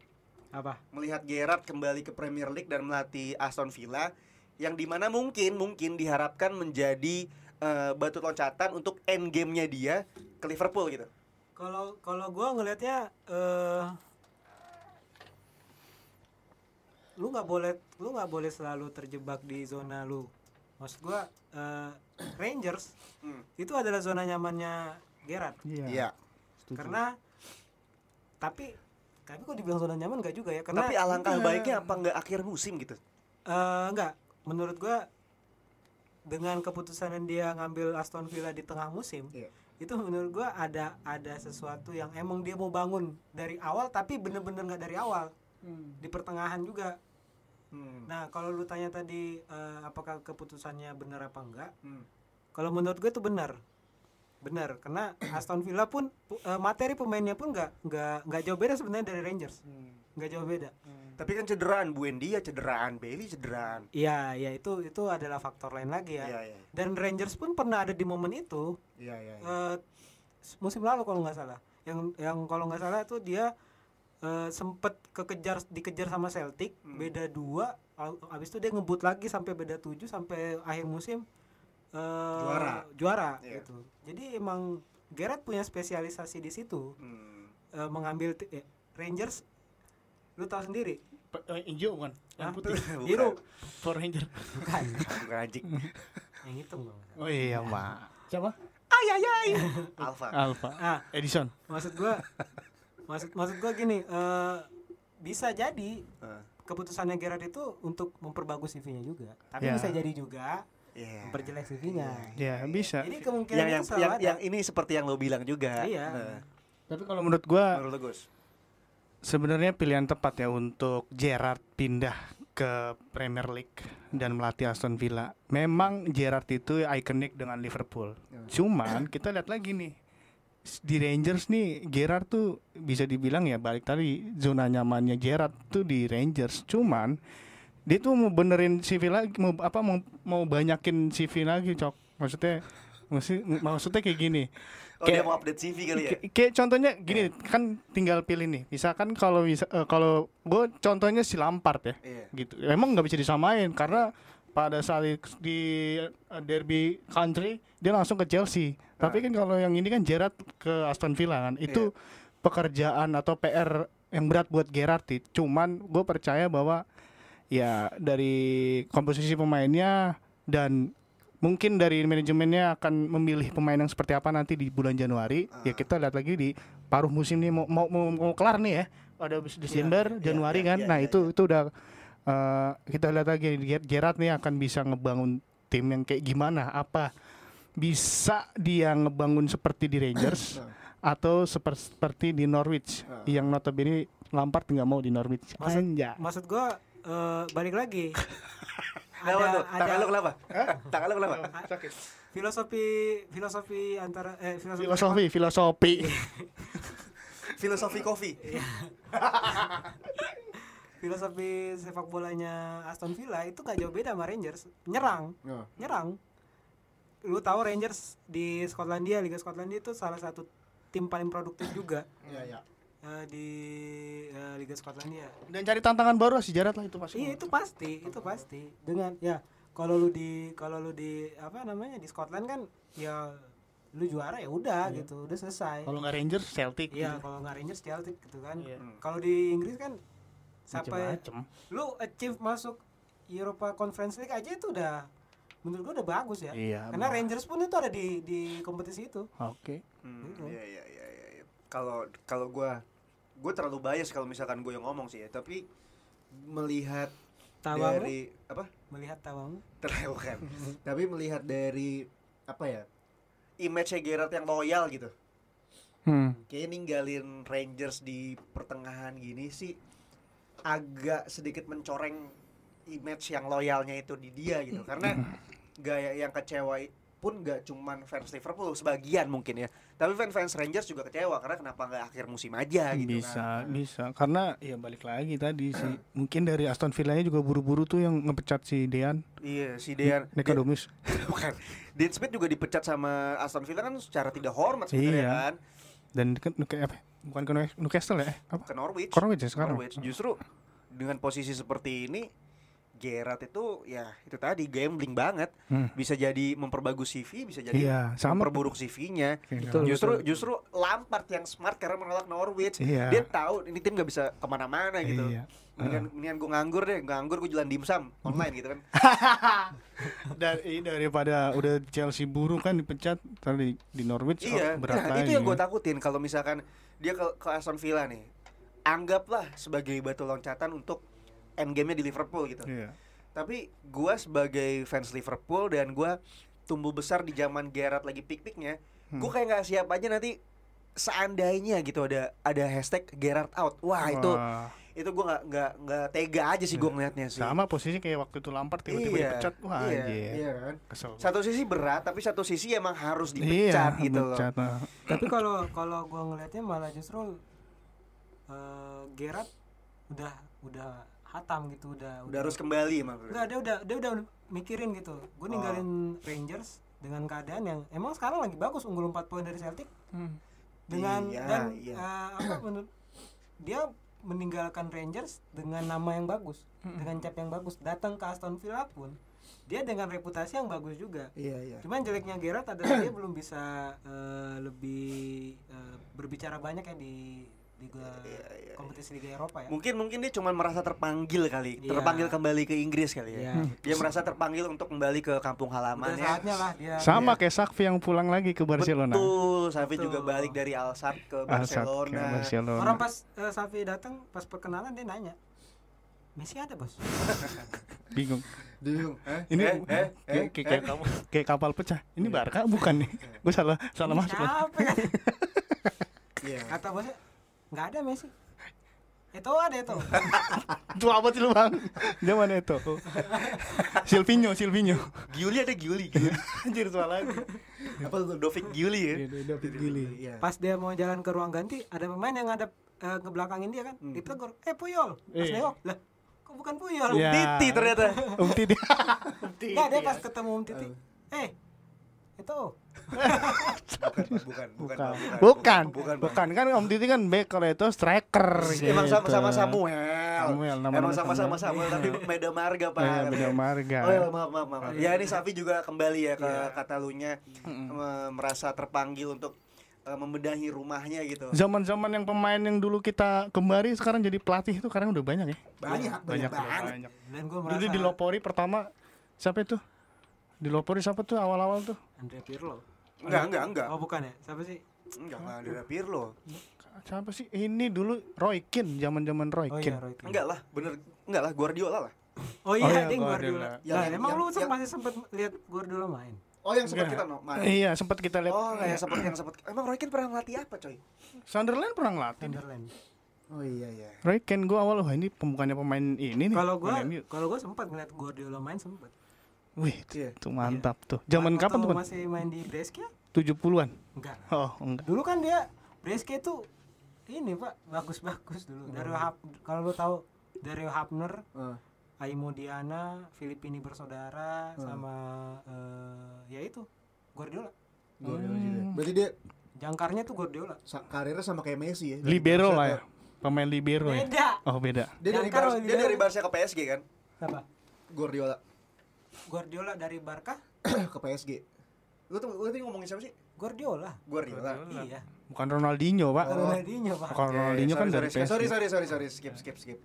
[SPEAKER 3] apa
[SPEAKER 1] Melihat Gerrard kembali ke Premier League dan melatih Aston Villa yang dimana mungkin mungkin diharapkan menjadi eh, batu loncatan untuk end game-nya dia ke Liverpool gitu.
[SPEAKER 3] Kalau kalau gua ngelihatnya eh lu nggak boleh lu nggak boleh selalu terjebak di zona lu. Maksud gua eh, Rangers
[SPEAKER 1] Hmm.
[SPEAKER 3] itu adalah zona nyamannya Gerard.
[SPEAKER 1] Iya.
[SPEAKER 3] Karena tapi tapi kok dibilang zona nyaman nggak juga ya? Karena
[SPEAKER 1] Tapi alangkah
[SPEAKER 3] eh,
[SPEAKER 1] baiknya apa nggak akhir musim gitu?
[SPEAKER 3] eh enggak, menurut gua dengan keputusan yang dia ngambil Aston Villa di tengah musim,
[SPEAKER 1] Iya.
[SPEAKER 3] itu menurut gua ada ada sesuatu yang emang dia mau bangun dari awal tapi bener-bener nggak dari awal, di pertengahan juga.
[SPEAKER 1] Hmm.
[SPEAKER 3] Nah kalau lu tanya tadi eh, apakah keputusannya benar apa enggak,
[SPEAKER 1] Hmm.
[SPEAKER 3] kalau menurut gue itu benar. Benar, karena Aston Villa pun pu- eh, materi pemainnya pun nggak nggak nggak jauh beda sebenarnya dari Rangers, nggak jauh beda.
[SPEAKER 1] Tapi kan cederaan Buendia, cederaan Bailey, cederaan.
[SPEAKER 3] Iya, ya itu itu adalah faktor lain lagi ya.
[SPEAKER 1] Iya, iya.
[SPEAKER 3] Dan Rangers pun pernah ada di momen itu
[SPEAKER 1] Iya, iya. iya.
[SPEAKER 3] eh, musim lalu kalau nggak salah. Yang yang kalau nggak salah itu dia eh, sempet kekejar dikejar sama Celtic
[SPEAKER 1] Hmm.
[SPEAKER 3] beda dua, al- abis itu dia ngebut lagi sampai beda tujuh sampai akhir musim eh,
[SPEAKER 1] Juara.
[SPEAKER 3] juara
[SPEAKER 1] Iya.
[SPEAKER 3] gitu. Jadi emang Gerrard punya spesialisasi di situ
[SPEAKER 1] Hmm.
[SPEAKER 3] eh, mengambil ti- eh, Rangers lu tahu sendiri
[SPEAKER 2] Pe- eh, hijau bukan? Yang
[SPEAKER 3] Hah?
[SPEAKER 2] putih.
[SPEAKER 1] Bukan.
[SPEAKER 3] [laughs] biru
[SPEAKER 2] Power Ranger.
[SPEAKER 3] bukan
[SPEAKER 1] Bukan
[SPEAKER 3] [laughs]
[SPEAKER 1] anjing.
[SPEAKER 3] yang itu kalau nggak salah.
[SPEAKER 2] Oh iya, Mak. Siapa?
[SPEAKER 1] Alfa.
[SPEAKER 2] Alpha.
[SPEAKER 3] ah
[SPEAKER 2] Edison.
[SPEAKER 3] maksud gua maksud maksud gua gini eh, bisa jadi
[SPEAKER 1] Ah,
[SPEAKER 3] keputusannya Gerard itu untuk memperbagus CV-nya juga tapi
[SPEAKER 2] Ya.
[SPEAKER 3] bisa jadi juga
[SPEAKER 1] Iya.
[SPEAKER 3] memperjelek CV-nya
[SPEAKER 2] Ya, bisa.
[SPEAKER 3] jadi kemungkinan
[SPEAKER 1] Yang yang,
[SPEAKER 3] itu selalu
[SPEAKER 1] yang,
[SPEAKER 3] ada
[SPEAKER 1] yang ini seperti yang lo bilang juga.
[SPEAKER 3] Iya.
[SPEAKER 1] Nah,
[SPEAKER 2] Tapi kalau menurut gua
[SPEAKER 1] menurut lo Gus.
[SPEAKER 2] sebenarnya pilihan tepat ya untuk Gerard pindah ke Premier League dan melatih Aston Villa. Memang Gerard itu ikonik dengan Liverpool.
[SPEAKER 1] Ya.
[SPEAKER 2] Cuman kita lihat lagi nih di Rangers nih Gerard tuh bisa dibilang ya balik tadi zona nyamannya Gerard tuh di Rangers. Cuman dia tuh mau benerin CV lagi mau apa mau, mau banyakin CV lagi cok maksudnya maksud- maksudnya kayak gini
[SPEAKER 1] Oh, dia mau update CV kali ya. Iya.
[SPEAKER 2] Kay- kayak contohnya gini kan tinggal pilih nih misalkan kalau bisa eh, kalau gue contohnya si Lampard ya
[SPEAKER 1] Iya.
[SPEAKER 2] gitu emang nggak bisa disamain karena pada saat di- di eh, derby country dia langsung ke Chelsea
[SPEAKER 1] Ah.
[SPEAKER 2] tapi kan kalau yang ini kan Gerrard ke Aston Villa kan
[SPEAKER 1] Iya.
[SPEAKER 2] itu pekerjaan atau PR yang berat buat Gerrard sih. cuman gue percaya bahwa ya dari komposisi pemainnya dan mungkin dari manajemennya akan memilih pemain yang seperti apa nanti di bulan Januari.
[SPEAKER 1] Ah.
[SPEAKER 2] Ya kita lihat lagi di paruh musim nih mau mau, mau, mau kelar nih ya. Ada bes- Desember,
[SPEAKER 1] iya,
[SPEAKER 2] Januari
[SPEAKER 1] iya,
[SPEAKER 2] kan.
[SPEAKER 1] iya,
[SPEAKER 2] nah,
[SPEAKER 1] iya,
[SPEAKER 2] itu itu udah eh, kita lihat lagi Ger- Gerrard nih akan bisa ngebangun tim yang kayak gimana? Apa bisa dia ngebangun seperti di
[SPEAKER 1] [coughs]
[SPEAKER 2] Rangers
[SPEAKER 1] Nah.
[SPEAKER 2] atau seper- seperti di Norwich yang notabene Lampard nggak mau di Norwich.
[SPEAKER 3] Maksud-
[SPEAKER 2] Anja.
[SPEAKER 3] maksud gua eh, balik lagi
[SPEAKER 1] Kenapa tuh?
[SPEAKER 3] ada
[SPEAKER 1] Tangan lo
[SPEAKER 3] ada
[SPEAKER 1] kenapa? Tangan lo kenapa?
[SPEAKER 3] filosofi filosofi antara eh filosofi,
[SPEAKER 2] Filosofi, filosofi.
[SPEAKER 1] Iya. Filosofi kopi.
[SPEAKER 3] Iya. filosofi sepak bolanya Aston Villa itu gak jauh beda sama Rangers nyerang nyerang lu tahu Rangers di Skotlandia Liga Skotlandia itu salah satu tim paling produktif juga eh, di eh, Liga Skotlandia
[SPEAKER 2] Dan cari tantangan baru si Gerrard lah itu pasti.
[SPEAKER 3] iya itu pasti itu pasti dengan ya kalau lu di kalau lu di apa namanya di Scotland kan ya lu juara ya udah gitu udah selesai
[SPEAKER 2] Kalau nggak Rangers, Celtic.
[SPEAKER 3] Iya,
[SPEAKER 2] gitu.
[SPEAKER 3] kalau nggak Rangers Celtic gitu kan.
[SPEAKER 2] Iya.
[SPEAKER 3] Kalau di Inggris kan sampai
[SPEAKER 2] Macem-macem.
[SPEAKER 3] lu achieve masuk Europa Conference League aja itu udah menurut gua udah bagus ya.
[SPEAKER 2] Iya,
[SPEAKER 3] Karena
[SPEAKER 2] benar.
[SPEAKER 3] Rangers pun itu ada di di kompetisi itu.
[SPEAKER 2] Oke.
[SPEAKER 1] Hmm, Iya iya iya iya. iya. Kalau kalau gue gue terlalu bias kalau misalkan gue yang ngomong sih ya. Tapi melihat
[SPEAKER 3] Tawamu?
[SPEAKER 1] dari apa?
[SPEAKER 3] Melihat tawamu.
[SPEAKER 1] Terlewatkan. Tapi melihat dari apa ya? Image Gerard yang loyal gitu.
[SPEAKER 2] Hmm.
[SPEAKER 1] Kayaknya ninggalin Rangers di pertengahan gini sih agak sedikit mencoreng image yang loyalnya itu di dia gitu karena gaya yang kecewa i- pun gak cuman fans Liverpool sebagian mungkin ya tapi fans fans Rangers juga kecewa karena kenapa nggak akhir musim aja gitu
[SPEAKER 2] bisa,
[SPEAKER 1] kan
[SPEAKER 2] bisa. Karena ya balik lagi tadi
[SPEAKER 1] [coughs]
[SPEAKER 2] sih. Mungkin dari Aston Villa-nya juga buru-buru tuh yang ngepecat si Dean
[SPEAKER 1] iya si Dean [laughs]
[SPEAKER 2] Nikodomus.
[SPEAKER 1] bukan Dean Smith juga dipecat sama Aston Villa kan secara tidak hormat sebenarnya
[SPEAKER 2] Iya.
[SPEAKER 1] kan
[SPEAKER 2] Dan ke, ke- apa? ya? Bukan ke Nue- Newcastle ya? Eh, [laughs] Apa?
[SPEAKER 1] ke Norwich.
[SPEAKER 2] Ke Norwich ya sekarang?
[SPEAKER 1] Norwich. Justru dengan posisi seperti ini Gerard itu ya itu tadi gambling banget. Bisa jadi memperbagus CV, bisa jadi
[SPEAKER 2] Hmm. Iya, sama. Iya,
[SPEAKER 1] memperburuk CV-nya.
[SPEAKER 2] Betul,
[SPEAKER 1] justru justru Lampard yang smart karena menolak Norwich.
[SPEAKER 2] Iya.
[SPEAKER 1] Dia tahu ini tim gak bisa kemana-mana gitu.
[SPEAKER 2] Iya.
[SPEAKER 1] Mendingan, mendingan gue nganggur deh, nganggur gue jalan dimsum online
[SPEAKER 2] [laughs]
[SPEAKER 1] gitu kan.
[SPEAKER 2] Dari daripada udah Chelsea buruk kan dipecat tadi di Norwich oh,
[SPEAKER 1] Iya,
[SPEAKER 2] berat
[SPEAKER 1] nah,
[SPEAKER 2] lagi.
[SPEAKER 1] itu yang gue takutin kalau misalkan dia ke, ke Aston Villa nih, anggaplah sebagai batu loncatan untuk endgame-nya di Liverpool gitu.
[SPEAKER 2] Iya.
[SPEAKER 1] Tapi gua sebagai fans Liverpool dan gua tumbuh besar di zaman Gerrard lagi pik-piknya, gua
[SPEAKER 2] Hmm.
[SPEAKER 1] kayak nggak siap aja nanti seandainya gitu ada ada hashtag Gerrard out. Wah, itu
[SPEAKER 2] Wah. Hmm.
[SPEAKER 1] itu gue nggak nggak nggak tega aja sih gue ngeliatnya sih
[SPEAKER 2] sama posisi kayak waktu itu Lampard tiba-tiba dipecat wah
[SPEAKER 1] iya,
[SPEAKER 2] anjir
[SPEAKER 1] iya kan?
[SPEAKER 2] kesel
[SPEAKER 1] satu sisi berat tapi satu sisi emang harus
[SPEAKER 2] Iya,
[SPEAKER 1] dipecat gitu loh
[SPEAKER 2] dipecat, nah.
[SPEAKER 3] tapi kalau kalau gua ngelihatnya malah justru eh Gerard udah udah hatam gitu udah
[SPEAKER 1] udah harus kembali emang
[SPEAKER 3] Enggak, dia udah dia udah mikirin gitu. Gue ninggalin
[SPEAKER 1] Oh.
[SPEAKER 3] Rangers dengan keadaan yang emang sekarang lagi bagus unggul 4 poin dari Celtic. Dengan
[SPEAKER 1] Iya,
[SPEAKER 3] dan
[SPEAKER 1] iya.
[SPEAKER 3] eh, apa menurut dia meninggalkan Rangers dengan nama yang bagus, dengan cap yang bagus. Datang ke Aston Villa pun dia dengan reputasi yang bagus juga.
[SPEAKER 1] iya iya
[SPEAKER 3] Cuman jeleknya Gerard adalah dia belum bisa eh, lebih eh, berbicara banyak ya di liga kompetisi Liga Eropa ya.
[SPEAKER 1] Iya, mungkin mungkin dia cuma merasa terpanggil kali
[SPEAKER 3] Iya.
[SPEAKER 1] terpanggil kembali ke Inggris kali
[SPEAKER 3] Iya.
[SPEAKER 1] ya dia merasa terpanggil untuk kembali ke kampung
[SPEAKER 3] Udah
[SPEAKER 1] halamannya
[SPEAKER 3] saatnya lah dia
[SPEAKER 2] sama kayak Sakfi yang pulang lagi ke Barcelona
[SPEAKER 1] Betul, Safi
[SPEAKER 3] Betul.
[SPEAKER 1] juga balik dari Al Sadd ke
[SPEAKER 2] Ah, Sak-
[SPEAKER 1] Barcelona.
[SPEAKER 2] ke Barcelona
[SPEAKER 3] Orang pas eh, Safi datang pas perkenalan dia nanya. Messi ada, Bos.
[SPEAKER 2] bingung
[SPEAKER 1] Bingung.
[SPEAKER 2] ini
[SPEAKER 1] Eh, eh, eh,
[SPEAKER 2] kayak, kayak, kayak kapal pecah ini Barca bukan nih gue salah salah masuk lagi.
[SPEAKER 3] Siapa ya?
[SPEAKER 1] Iya.
[SPEAKER 3] [laughs] Kata bosnya, "Enggak ada Messi." Itu ada
[SPEAKER 2] [laughs]
[SPEAKER 3] itu.
[SPEAKER 2] itu apa sih lu bang zaman itu Silvinho Silvinho
[SPEAKER 1] Giuli ada Giuli, Giuli. Anjir salah lagi. [laughs] Apa tuh Dovik Giuli ya?
[SPEAKER 2] David
[SPEAKER 1] Iya.
[SPEAKER 3] Pas dia mau jalan ke ruang ganti, ada pemain yang ngadep eh, ke belakangin dia kan. Ditegur, "Eh, Puyol." Pas
[SPEAKER 2] Hmm. Iya.
[SPEAKER 3] nengok, "Lah, kok bukan Puyol?"
[SPEAKER 2] Iya.
[SPEAKER 1] Titi ternyata.
[SPEAKER 2] Om Titi
[SPEAKER 3] Enggak, dia pas ketemu Om Titi. "Eh, itu."
[SPEAKER 1] Bukan, bukan, bukan,
[SPEAKER 2] bukan
[SPEAKER 1] bukan,
[SPEAKER 2] bukan bukan kan Om Titi kan back kalau itu striker
[SPEAKER 1] Emang
[SPEAKER 2] gitu.
[SPEAKER 1] sama-sama Samuel.
[SPEAKER 2] Samuel, nama-nama
[SPEAKER 1] Emang sama-sama Samuel
[SPEAKER 2] Samuel.
[SPEAKER 1] tapi beda marga pak.
[SPEAKER 2] Iya, beda marga.
[SPEAKER 1] Oh ya, maaf, maaf, maaf. Ya ini Safi juga kembali ya ke Katalunya em, merasa terpanggil untuk eh, membedahi rumahnya gitu.
[SPEAKER 2] zaman-zaman yang pemain yang dulu kita kembali sekarang jadi pelatih itu sekarang udah banyak ya
[SPEAKER 1] Banyak, banyak, banget.
[SPEAKER 2] banyak.
[SPEAKER 3] Dan
[SPEAKER 2] Dulu
[SPEAKER 3] gue merasa
[SPEAKER 2] dilopori pertama siapa itu? Dilopori siapa tuh awal-awal tuh?
[SPEAKER 3] Andre Pirlo.
[SPEAKER 1] Enggak, enggak, enggak.
[SPEAKER 3] Oh, bukan ya? Siapa sih?
[SPEAKER 1] Enggak, enggak ada Pirlo.
[SPEAKER 2] Siapa sih? Ini dulu Roy Keane, zaman-zaman Roy
[SPEAKER 3] Oh iya,
[SPEAKER 2] Keane.
[SPEAKER 3] Roy Keane.
[SPEAKER 1] Enggak lah, bener enggak lah Guardiola lah.
[SPEAKER 3] Oh
[SPEAKER 2] Oh iya,
[SPEAKER 3] iya, ding
[SPEAKER 2] Guardiola. ya,
[SPEAKER 3] Guardiola.
[SPEAKER 1] Yang-
[SPEAKER 3] Nah,
[SPEAKER 1] yang-
[SPEAKER 3] emang lu
[SPEAKER 1] yang-
[SPEAKER 3] masih sempet lihat Guardiola main?
[SPEAKER 1] Oh yang sempat kita no, main.
[SPEAKER 2] Iya, sempat kita lihat.
[SPEAKER 1] Oh, yang sempat yang sempat. Emang Roy Keane pernah ngelatih apa, coy?
[SPEAKER 2] Sunderland pernah ngelatih. dia.
[SPEAKER 3] Sunderland.
[SPEAKER 1] Oh iya iya.
[SPEAKER 2] Roy Keane gue awal wah ini pembukannya pemain ini nih.
[SPEAKER 3] Kalau gua
[SPEAKER 2] pemain MU.
[SPEAKER 3] kalau gua sempat ngeliat Guardiola main sempat.
[SPEAKER 2] wih,
[SPEAKER 1] Iya.
[SPEAKER 2] itu mantap tuh. Zaman kapan
[SPEAKER 3] Atau
[SPEAKER 2] tuh, Bang?
[SPEAKER 3] Masih main di Brescia?
[SPEAKER 2] 70-an.
[SPEAKER 3] Enggak.
[SPEAKER 2] Oh, enggak.
[SPEAKER 3] Dulu kan dia Brescia itu ini Pak bagus-bagus dulu.
[SPEAKER 2] Iya.
[SPEAKER 3] Dari Hap kalau lu tahu dari Hapner,
[SPEAKER 1] Oh,
[SPEAKER 3] Aimo Diana, Filipini bersaudara
[SPEAKER 2] Hmm.
[SPEAKER 3] sama eh, ya itu Guardiola.
[SPEAKER 5] Berarti dia
[SPEAKER 3] Jangkarnya tuh Guardiola.
[SPEAKER 5] sa- karirnya sama kayak Messi ya.
[SPEAKER 1] Iya,
[SPEAKER 2] Libero lah ya. Pemain libero ya.
[SPEAKER 3] Beda.
[SPEAKER 2] Oh, beda.
[SPEAKER 5] Dia dari
[SPEAKER 3] Jangkar
[SPEAKER 5] Bar-
[SPEAKER 3] oleh
[SPEAKER 1] Dia dari
[SPEAKER 3] Guardiola.
[SPEAKER 1] Barca ke PSG kan?
[SPEAKER 3] Siapa?
[SPEAKER 1] [clears throat]
[SPEAKER 5] Guardiola
[SPEAKER 3] Guardiola dari Barca?
[SPEAKER 5] ke PSG.
[SPEAKER 1] Lu tuh lu tadi ngomongin siapa sih?
[SPEAKER 3] Guardiola.
[SPEAKER 1] Guardiola. Ya,
[SPEAKER 3] Iya.
[SPEAKER 2] Bukan Ronaldinho, Pak.
[SPEAKER 3] Ronaldinho, Pak.
[SPEAKER 2] Bukan Ronaldinho kan dari
[SPEAKER 1] sorry,
[SPEAKER 2] PSG. [laughs]
[SPEAKER 1] sorry, sorry, sorry, sorry, skip, skip, skip.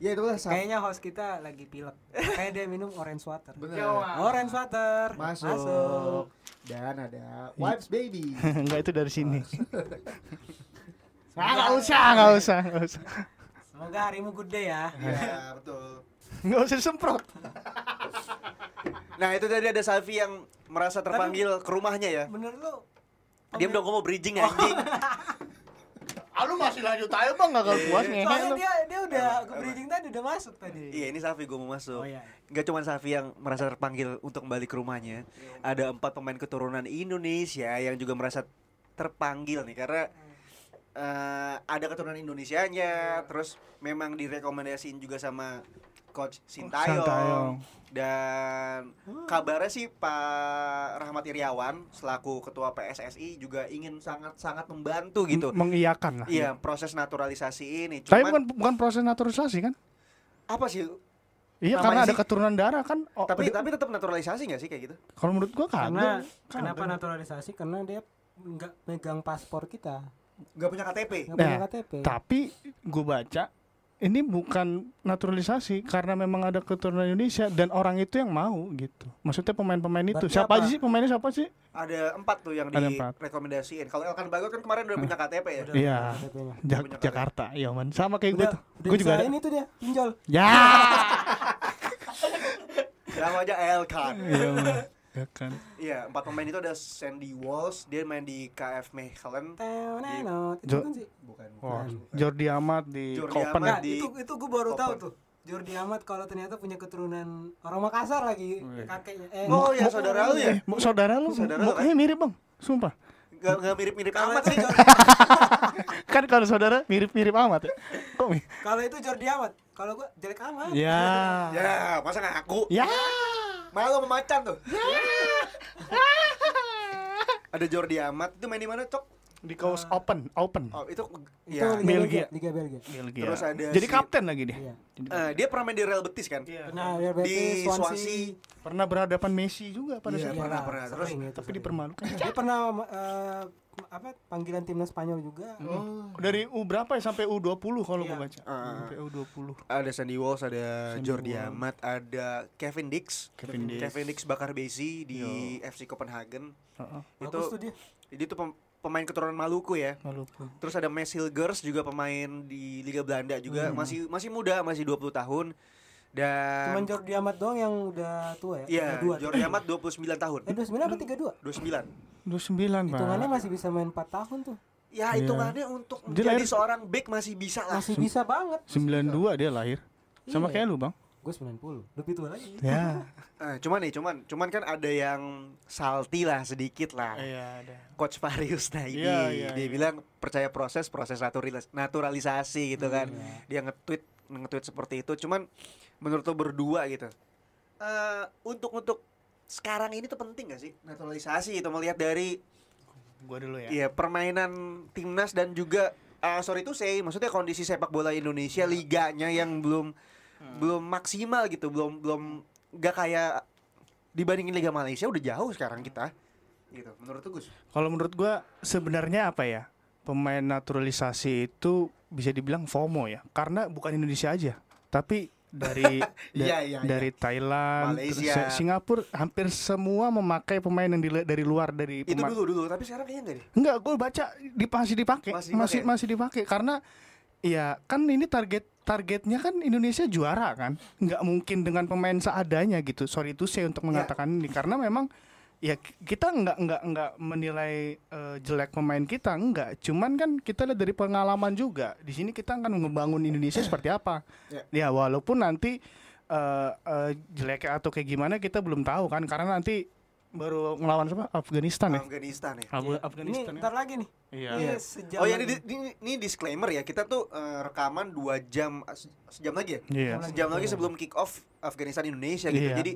[SPEAKER 5] Ya itulah sama
[SPEAKER 3] Kayaknya host kita lagi pilek. Kayak dia minum orange water.
[SPEAKER 5] Bener.
[SPEAKER 3] Orange water.
[SPEAKER 5] Masuk.
[SPEAKER 3] Masuk.
[SPEAKER 5] Dan ada Wipes Baby.
[SPEAKER 2] Enggak itu dari sini.
[SPEAKER 1] Oh,
[SPEAKER 2] [laughs] Ah, enggak usah, enggak usah, enggak usah.
[SPEAKER 3] Semoga harimu good day
[SPEAKER 2] [laughs]
[SPEAKER 3] ya.
[SPEAKER 1] Iya, betul.
[SPEAKER 2] Enggak usah disemprot.
[SPEAKER 1] Nah, itu tadi ada Safi yang merasa terpanggil ke rumahnya ya.
[SPEAKER 3] Bener lu.
[SPEAKER 1] Diam dong, gua mau bridging anjing.
[SPEAKER 2] Aduh Ah, masih lanjut aja Bang, enggak
[SPEAKER 1] Iya,
[SPEAKER 2] puas
[SPEAKER 3] Soalnya dia dia udah ke breeding tadi udah masuk tadi.
[SPEAKER 1] Iya, ini Safi gua mau masuk.
[SPEAKER 3] Oh, iya.
[SPEAKER 1] Gak cuma Safi yang merasa terpanggil untuk kembali ke rumahnya.
[SPEAKER 2] Iya.
[SPEAKER 1] Ada empat pemain keturunan Indonesia yang juga merasa terpanggil nih karena eh, ada keturunan
[SPEAKER 2] Iya.
[SPEAKER 1] Indonesianya. Terus memang direkomendasiin juga sama coach
[SPEAKER 2] Oh,
[SPEAKER 1] Sintayong.
[SPEAKER 2] Sintayong.
[SPEAKER 1] Dan
[SPEAKER 2] Hmm.
[SPEAKER 1] kabarnya sih Pak Rahmat Iriawan selaku ketua PSSI juga ingin sangat-sangat membantu gitu.
[SPEAKER 2] Mengiyakan lah.
[SPEAKER 1] Iya, proses naturalisasi ini.
[SPEAKER 2] Hmm. Nah, Tapi
[SPEAKER 1] Cuman
[SPEAKER 2] bukan bukan proses naturalisasi kan?
[SPEAKER 1] apa sih?
[SPEAKER 2] Iya,
[SPEAKER 1] Namanya
[SPEAKER 2] karena ada
[SPEAKER 1] sih-
[SPEAKER 2] keturunan darah kan. Oh,
[SPEAKER 1] Tapi
[SPEAKER 2] ada-
[SPEAKER 1] tapi tetap naturalisasi nggak sih kayak gitu?
[SPEAKER 2] kalau menurut gua kagak.
[SPEAKER 3] Karena kenapa
[SPEAKER 2] Kagak.
[SPEAKER 3] naturalisasi? Karena dia nggak megang paspor kita,
[SPEAKER 1] Nggak punya KTP.
[SPEAKER 3] nggak
[SPEAKER 2] Nah,
[SPEAKER 3] punya KTP.
[SPEAKER 2] tapi gue baca ini bukan naturalisasi karena memang ada keturunan Indonesia dan orang itu yang mau gitu. Maksudnya pemain-pemain itu.
[SPEAKER 3] Berarti
[SPEAKER 2] Siapa
[SPEAKER 3] apa?
[SPEAKER 2] aja sih pemainnya siapa sih?
[SPEAKER 1] Ada empat tuh yang
[SPEAKER 2] Ada empat.
[SPEAKER 1] direkomendasiin. Kalau Elkan Bagot kan kemarin udah punya KTP ya.
[SPEAKER 3] Udah
[SPEAKER 2] Iya.
[SPEAKER 3] punya KTP-nya.
[SPEAKER 2] Jak-
[SPEAKER 1] punya KTP.
[SPEAKER 2] Jakarta, iya man. Sama kayak gue
[SPEAKER 3] Udah,
[SPEAKER 2] tuh.
[SPEAKER 3] udah
[SPEAKER 2] Gue juga ada. Iya.
[SPEAKER 3] ini tuh dia,
[SPEAKER 1] [laughs]
[SPEAKER 3] pinjol.
[SPEAKER 2] Ya.
[SPEAKER 1] Nama aja Elkan.
[SPEAKER 2] Iya man. dadakan.
[SPEAKER 1] Iya, empat pemain itu ada Sandy Walsh, dia main di KF Mechelen. Eh,
[SPEAKER 3] Tenenot. Itu
[SPEAKER 2] Jo-
[SPEAKER 3] kan sih.
[SPEAKER 5] bukan
[SPEAKER 2] Wah,
[SPEAKER 5] bukan.
[SPEAKER 2] Jordi Amat di ya.
[SPEAKER 1] Jordi
[SPEAKER 2] Kopen.
[SPEAKER 1] Amat.
[SPEAKER 3] Nah,
[SPEAKER 1] di
[SPEAKER 3] itu itu gue baru tahu
[SPEAKER 1] Koper.
[SPEAKER 3] tuh. Jordi Amat kalau ternyata punya keturunan orang Makassar lagi
[SPEAKER 2] Iya.
[SPEAKER 3] kakeknya. Eh,
[SPEAKER 1] Oh, ya, saudara lu ya?
[SPEAKER 2] Eh, mu- saudara lu
[SPEAKER 1] Saudara lu, kan?
[SPEAKER 2] mukanya mirip, Bang. Sumpah.
[SPEAKER 1] Gak, gak mirip-mirip
[SPEAKER 3] Kalau
[SPEAKER 1] amat
[SPEAKER 3] itu
[SPEAKER 1] sih.
[SPEAKER 3] [laughs] Jordi-
[SPEAKER 2] Kan kalau saudara mirip-mirip amat ya. Kok mi-
[SPEAKER 3] Kalau itu Jordi Amat, kalau gue jelek amat.
[SPEAKER 2] Ya.
[SPEAKER 1] Ya, masa
[SPEAKER 3] Iya.
[SPEAKER 1] ngaku?
[SPEAKER 2] Ya.
[SPEAKER 1] Malu sama macan
[SPEAKER 3] [laughs]
[SPEAKER 1] tuh.
[SPEAKER 3] Ya.
[SPEAKER 1] ada Jordi Amat, itu main di mana, Cok?
[SPEAKER 2] Di kaos open, open.
[SPEAKER 1] Oh, itu
[SPEAKER 3] Itu
[SPEAKER 1] ya.
[SPEAKER 3] Liga
[SPEAKER 2] Belgia.
[SPEAKER 3] Belgia. Liga Belgia.
[SPEAKER 2] Belgia.
[SPEAKER 1] Terus ada
[SPEAKER 2] Jadi
[SPEAKER 1] si-
[SPEAKER 2] kapten lagi dia.
[SPEAKER 3] Iya.
[SPEAKER 2] Jadi-
[SPEAKER 1] Eh, dia pernah main di Real Betis kan?
[SPEAKER 3] Nah, Real
[SPEAKER 1] Di
[SPEAKER 3] Betis,
[SPEAKER 1] Swansea.
[SPEAKER 3] Swansea. Iya,
[SPEAKER 2] Pernah berhadapan Messi juga pada
[SPEAKER 1] Iya,
[SPEAKER 2] saat itu.
[SPEAKER 1] pernah, pernah. Terus,
[SPEAKER 3] sering itu,
[SPEAKER 2] tapi
[SPEAKER 3] sering.
[SPEAKER 2] dipermalukan.
[SPEAKER 3] Dia pernah eh, apa panggilan timnas Spanyol juga.
[SPEAKER 2] Hmm.
[SPEAKER 3] Oh,
[SPEAKER 2] Dari U berapa ya sampai U20 kalau
[SPEAKER 3] Iya.
[SPEAKER 2] gua baca. Sampai U20.
[SPEAKER 1] Ada Sandy Walsh, ada
[SPEAKER 2] Sandy
[SPEAKER 1] Jordi
[SPEAKER 2] Walsh.
[SPEAKER 1] Amat, ada Kevin Dix.
[SPEAKER 2] Kevin Dix.
[SPEAKER 1] Kevin Dix bakar Besi di FC Copenhagen.
[SPEAKER 2] Heeh.
[SPEAKER 3] Bagus tuh dia.
[SPEAKER 1] Jadi itu pem- pemain keturunan Maluku ya.
[SPEAKER 2] Maluku.
[SPEAKER 1] Terus ada Mes Hilgers juga pemain di Liga Belanda
[SPEAKER 2] Hmm.
[SPEAKER 1] juga masih masih muda, masih 20 tahun.
[SPEAKER 3] Cuman
[SPEAKER 1] Dan
[SPEAKER 3] Jordi Amat doang yang udah tua ya.
[SPEAKER 1] ya,
[SPEAKER 3] Udah dua.
[SPEAKER 1] kan Jordi Amat 29 tahun.
[SPEAKER 3] Eh 29 apa 32?
[SPEAKER 1] 29.
[SPEAKER 2] 29, Pak.
[SPEAKER 3] Hitungannya masih bisa main 4 tahun tuh.
[SPEAKER 1] Ya, hitungannya untuk
[SPEAKER 2] Iya. Dia
[SPEAKER 1] menjadi
[SPEAKER 2] lahir-
[SPEAKER 1] seorang back masih bisa lah.
[SPEAKER 3] Masih bisa banget.
[SPEAKER 2] 92 dia lahir. Sama
[SPEAKER 3] Iya.
[SPEAKER 2] kayak lu, Bang.
[SPEAKER 3] Gue 90. Lebih tua lagi.
[SPEAKER 2] Ya.
[SPEAKER 1] Eh, cuman nih, cuman cuman kan ada yang salty lah sedikit lah.
[SPEAKER 2] [laughs] Iya, ada.
[SPEAKER 1] Coach Farius nah ini
[SPEAKER 2] Iya, iya,
[SPEAKER 1] dia
[SPEAKER 2] iya.
[SPEAKER 1] bilang percaya proses proses naturalis- naturalisasi
[SPEAKER 2] Hmm,
[SPEAKER 1] gitu kan
[SPEAKER 2] iya.
[SPEAKER 1] dia nge-tweet nge-tweet seperti itu cuman menurut lo berdua gitu eh, untuk untuk sekarang ini tuh penting gak sih naturalisasi itu melihat dari
[SPEAKER 2] Gua dulu ya.
[SPEAKER 1] ya permainan timnas dan juga eh, sorry itu saya maksudnya kondisi sepak bola Indonesia
[SPEAKER 2] Iya.
[SPEAKER 1] liganya yang belum
[SPEAKER 2] Hmm.
[SPEAKER 1] belum maksimal gitu belum belum gak kayak dibandingin Liga Malaysia udah jauh
[SPEAKER 2] Hmm.
[SPEAKER 1] sekarang kita gitu menurut lo, Gus
[SPEAKER 2] Kalau menurut gua sebenarnya apa ya? Pemain naturalisasi itu bisa dibilang FOMO ya. Karena bukan Indonesia aja, tapi dari
[SPEAKER 5] Iya,
[SPEAKER 2] da-
[SPEAKER 5] iya, iya.
[SPEAKER 2] dari Thailand, terus
[SPEAKER 1] Malaysia.
[SPEAKER 2] Se- Singapura hampir semua memakai pemain yang dile- dari luar dari
[SPEAKER 1] itu
[SPEAKER 2] pema-
[SPEAKER 1] dulu dulu tapi sekarang kayaknya enggak deh
[SPEAKER 2] Enggak, gue baca di, masih dipakai,
[SPEAKER 1] Masih
[SPEAKER 2] masih
[SPEAKER 1] dipakai?
[SPEAKER 2] masih, dipakai karena ya kan ini target targetnya kan Indonesia juara kan, nggak mungkin dengan pemain seadanya gitu. Sorry itu saya
[SPEAKER 1] Iya.
[SPEAKER 2] untuk mengatakan ini karena memang ya ki- kita nggak nggak nggak menilai eh, jelek pemain kita nggak, cuman kan kita lihat dari pengalaman juga. Di sini kita akan membangun Indonesia seperti apa.
[SPEAKER 1] Iya.
[SPEAKER 2] Ya walaupun nanti eh, eh, jelek atau kayak gimana kita belum tahu kan karena nanti baru melawan siapa Afghanistan ya.
[SPEAKER 1] Afghanistan ya.
[SPEAKER 2] Af-
[SPEAKER 3] Ini
[SPEAKER 2] Afghanistan ya.
[SPEAKER 3] ntar lagi nih.
[SPEAKER 2] Iya.
[SPEAKER 3] Ini
[SPEAKER 1] Oh
[SPEAKER 3] sejaman.
[SPEAKER 1] ya ini, ini- ini disclaimer ya kita tuh eh, rekaman dua jam eh, se- sejam lagi ya.
[SPEAKER 2] Iya.
[SPEAKER 1] Sejam lagi sebelum kick off Afghanistan Indonesia gitu.
[SPEAKER 2] Iya.
[SPEAKER 1] Jadi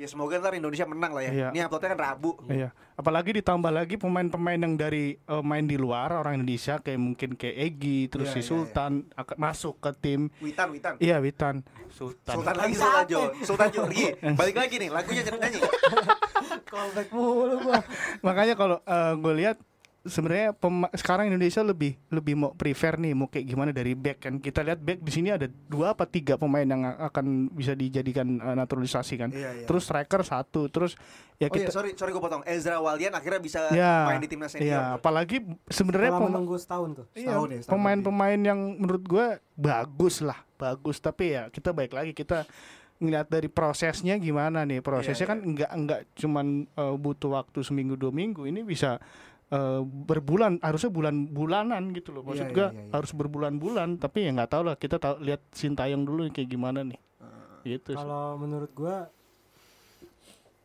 [SPEAKER 1] ya semoga ntar Indonesia menang lah ya.
[SPEAKER 2] Iya.
[SPEAKER 1] Ini uploadnya kan Rabu.
[SPEAKER 2] Iya, apalagi ditambah lagi pemain-pemain yang dari eh, main di luar orang Indonesia kayak mungkin kayak Egi terus
[SPEAKER 1] Iya,
[SPEAKER 2] si
[SPEAKER 1] iya,
[SPEAKER 2] Sultan akan masuk ke tim
[SPEAKER 1] Witan Witan.
[SPEAKER 2] iya Witan Sultan.
[SPEAKER 1] Sultan lagi
[SPEAKER 3] Capek.
[SPEAKER 1] Sultan Jo. Sultan Jo. Iya, Balik lagi nih lagunya jangan
[SPEAKER 2] [laughs]
[SPEAKER 1] nyanyi.
[SPEAKER 2] Ya,
[SPEAKER 3] Callback mulu gua.
[SPEAKER 2] Makanya kalau gue lihat sebenarnya pema- sekarang Indonesia lebih lebih mau prefer nih mau kayak gimana dari back kan kita lihat back di sini ada dua apa tiga pemain yang a- akan bisa dijadikan eh, naturalisasi kan
[SPEAKER 1] Iya, iya.
[SPEAKER 2] terus striker satu terus ya
[SPEAKER 1] Oh iya,
[SPEAKER 2] kita
[SPEAKER 1] sorry sorry gue potong. Ezra Walian akhirnya bisa
[SPEAKER 2] ya
[SPEAKER 1] main di timnas
[SPEAKER 2] iya,
[SPEAKER 1] senior.
[SPEAKER 2] apalagi sebenarnya
[SPEAKER 3] Setelah
[SPEAKER 2] pema-
[SPEAKER 3] menunggu setahun tuh.
[SPEAKER 2] Iya,
[SPEAKER 5] Setahun ya, setahun
[SPEAKER 2] pemain-pemain yang menurut gue bagus lah, bagus. Tapi ya kita baik lagi kita ngeliat dari prosesnya gimana nih. Prosesnya kan enggak enggak cuman eh, butuh waktu seminggu dua minggu. Ini bisa eh, berbulan, harusnya bulan-bulanan gitu loh. Maksud
[SPEAKER 1] Iya,
[SPEAKER 2] gue
[SPEAKER 1] iya, iya, iya.
[SPEAKER 2] harus berbulan-bulan. Tapi ya nggak tahu lah. Kita tahu, lihat sintayong dulu kayak gimana nih. Gitu. sih.
[SPEAKER 3] Kalau menurut gua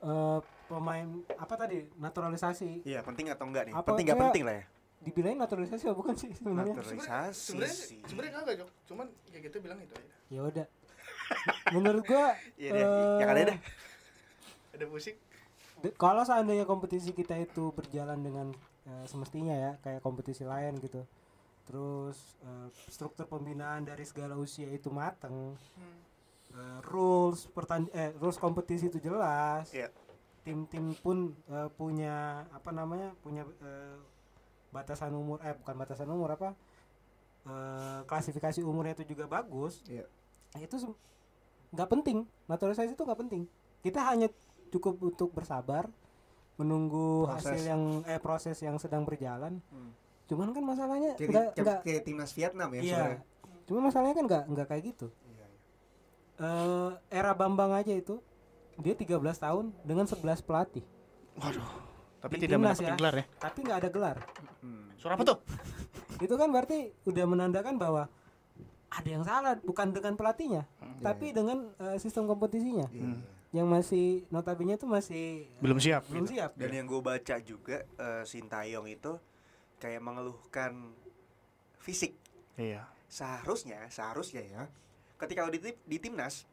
[SPEAKER 3] eh, pemain apa tadi naturalisasi
[SPEAKER 1] Iya, penting atau enggak nih?
[SPEAKER 3] Apa
[SPEAKER 1] penting enggak
[SPEAKER 3] enggak?
[SPEAKER 1] penting lah ya.
[SPEAKER 3] dibilangin naturalisasi apa bukan sih sebenarnya
[SPEAKER 1] Naturalisasi sih.
[SPEAKER 2] kagak Jok, cuman ya kita bilang itu aja.
[SPEAKER 3] ya udah menurut gua
[SPEAKER 1] [laughs] Iya deh,
[SPEAKER 3] eh,
[SPEAKER 1] yang ada deh.
[SPEAKER 2] Ada musik.
[SPEAKER 3] de- kalau seandainya kompetisi kita itu berjalan dengan eh, semestinya ya kayak kompetisi lain gitu terus eh, struktur pembinaan dari segala usia itu mateng Eh, rules pertan eh, rules kompetisi itu jelas
[SPEAKER 1] Iya.
[SPEAKER 3] tim-tim pun eh, punya apa namanya punya eh, batasan umur eh bukan batasan umur apa eh, klasifikasi umurnya itu juga bagus
[SPEAKER 5] Iya.
[SPEAKER 3] Nah, itu sem- nggak penting naturalisasi itu nggak penting kita hanya cukup untuk bersabar menunggu hasil yang eh proses yang sedang berjalan cuman kan masalahnya
[SPEAKER 5] Kayak-
[SPEAKER 3] nggak
[SPEAKER 5] kayak-
[SPEAKER 3] nggak
[SPEAKER 5] kayak timnas Vietnam ya
[SPEAKER 3] iya
[SPEAKER 5] sebenarnya.
[SPEAKER 3] cuma masalahnya kan nggak nggak kayak gitu Eh, era Bambang aja itu dia 13 tahun dengan 11 pelatih.
[SPEAKER 2] Waduh. Tapi
[SPEAKER 3] Di
[SPEAKER 2] tidak
[SPEAKER 3] timnas
[SPEAKER 2] mendapatkan gelar ya.
[SPEAKER 3] Tapi nggak ada gelar.
[SPEAKER 1] Hmm,
[SPEAKER 2] Suara apa tuh?
[SPEAKER 3] Itu kan berarti udah menandakan bahwa ada yang salah bukan dengan pelatihnya, tapi dengan eh, sistem kompetisinya.
[SPEAKER 1] Iya. hmm.
[SPEAKER 3] Yang masih notabene itu masih eh,
[SPEAKER 2] Belum gitu. siap.
[SPEAKER 3] belum siap.
[SPEAKER 1] Dan ya- yang gue baca juga eh, Sintayong itu kayak mengeluhkan fisik.
[SPEAKER 2] Iya.
[SPEAKER 1] Seharusnya, seharusnya ya. Ketika lo di, tim- di timnas,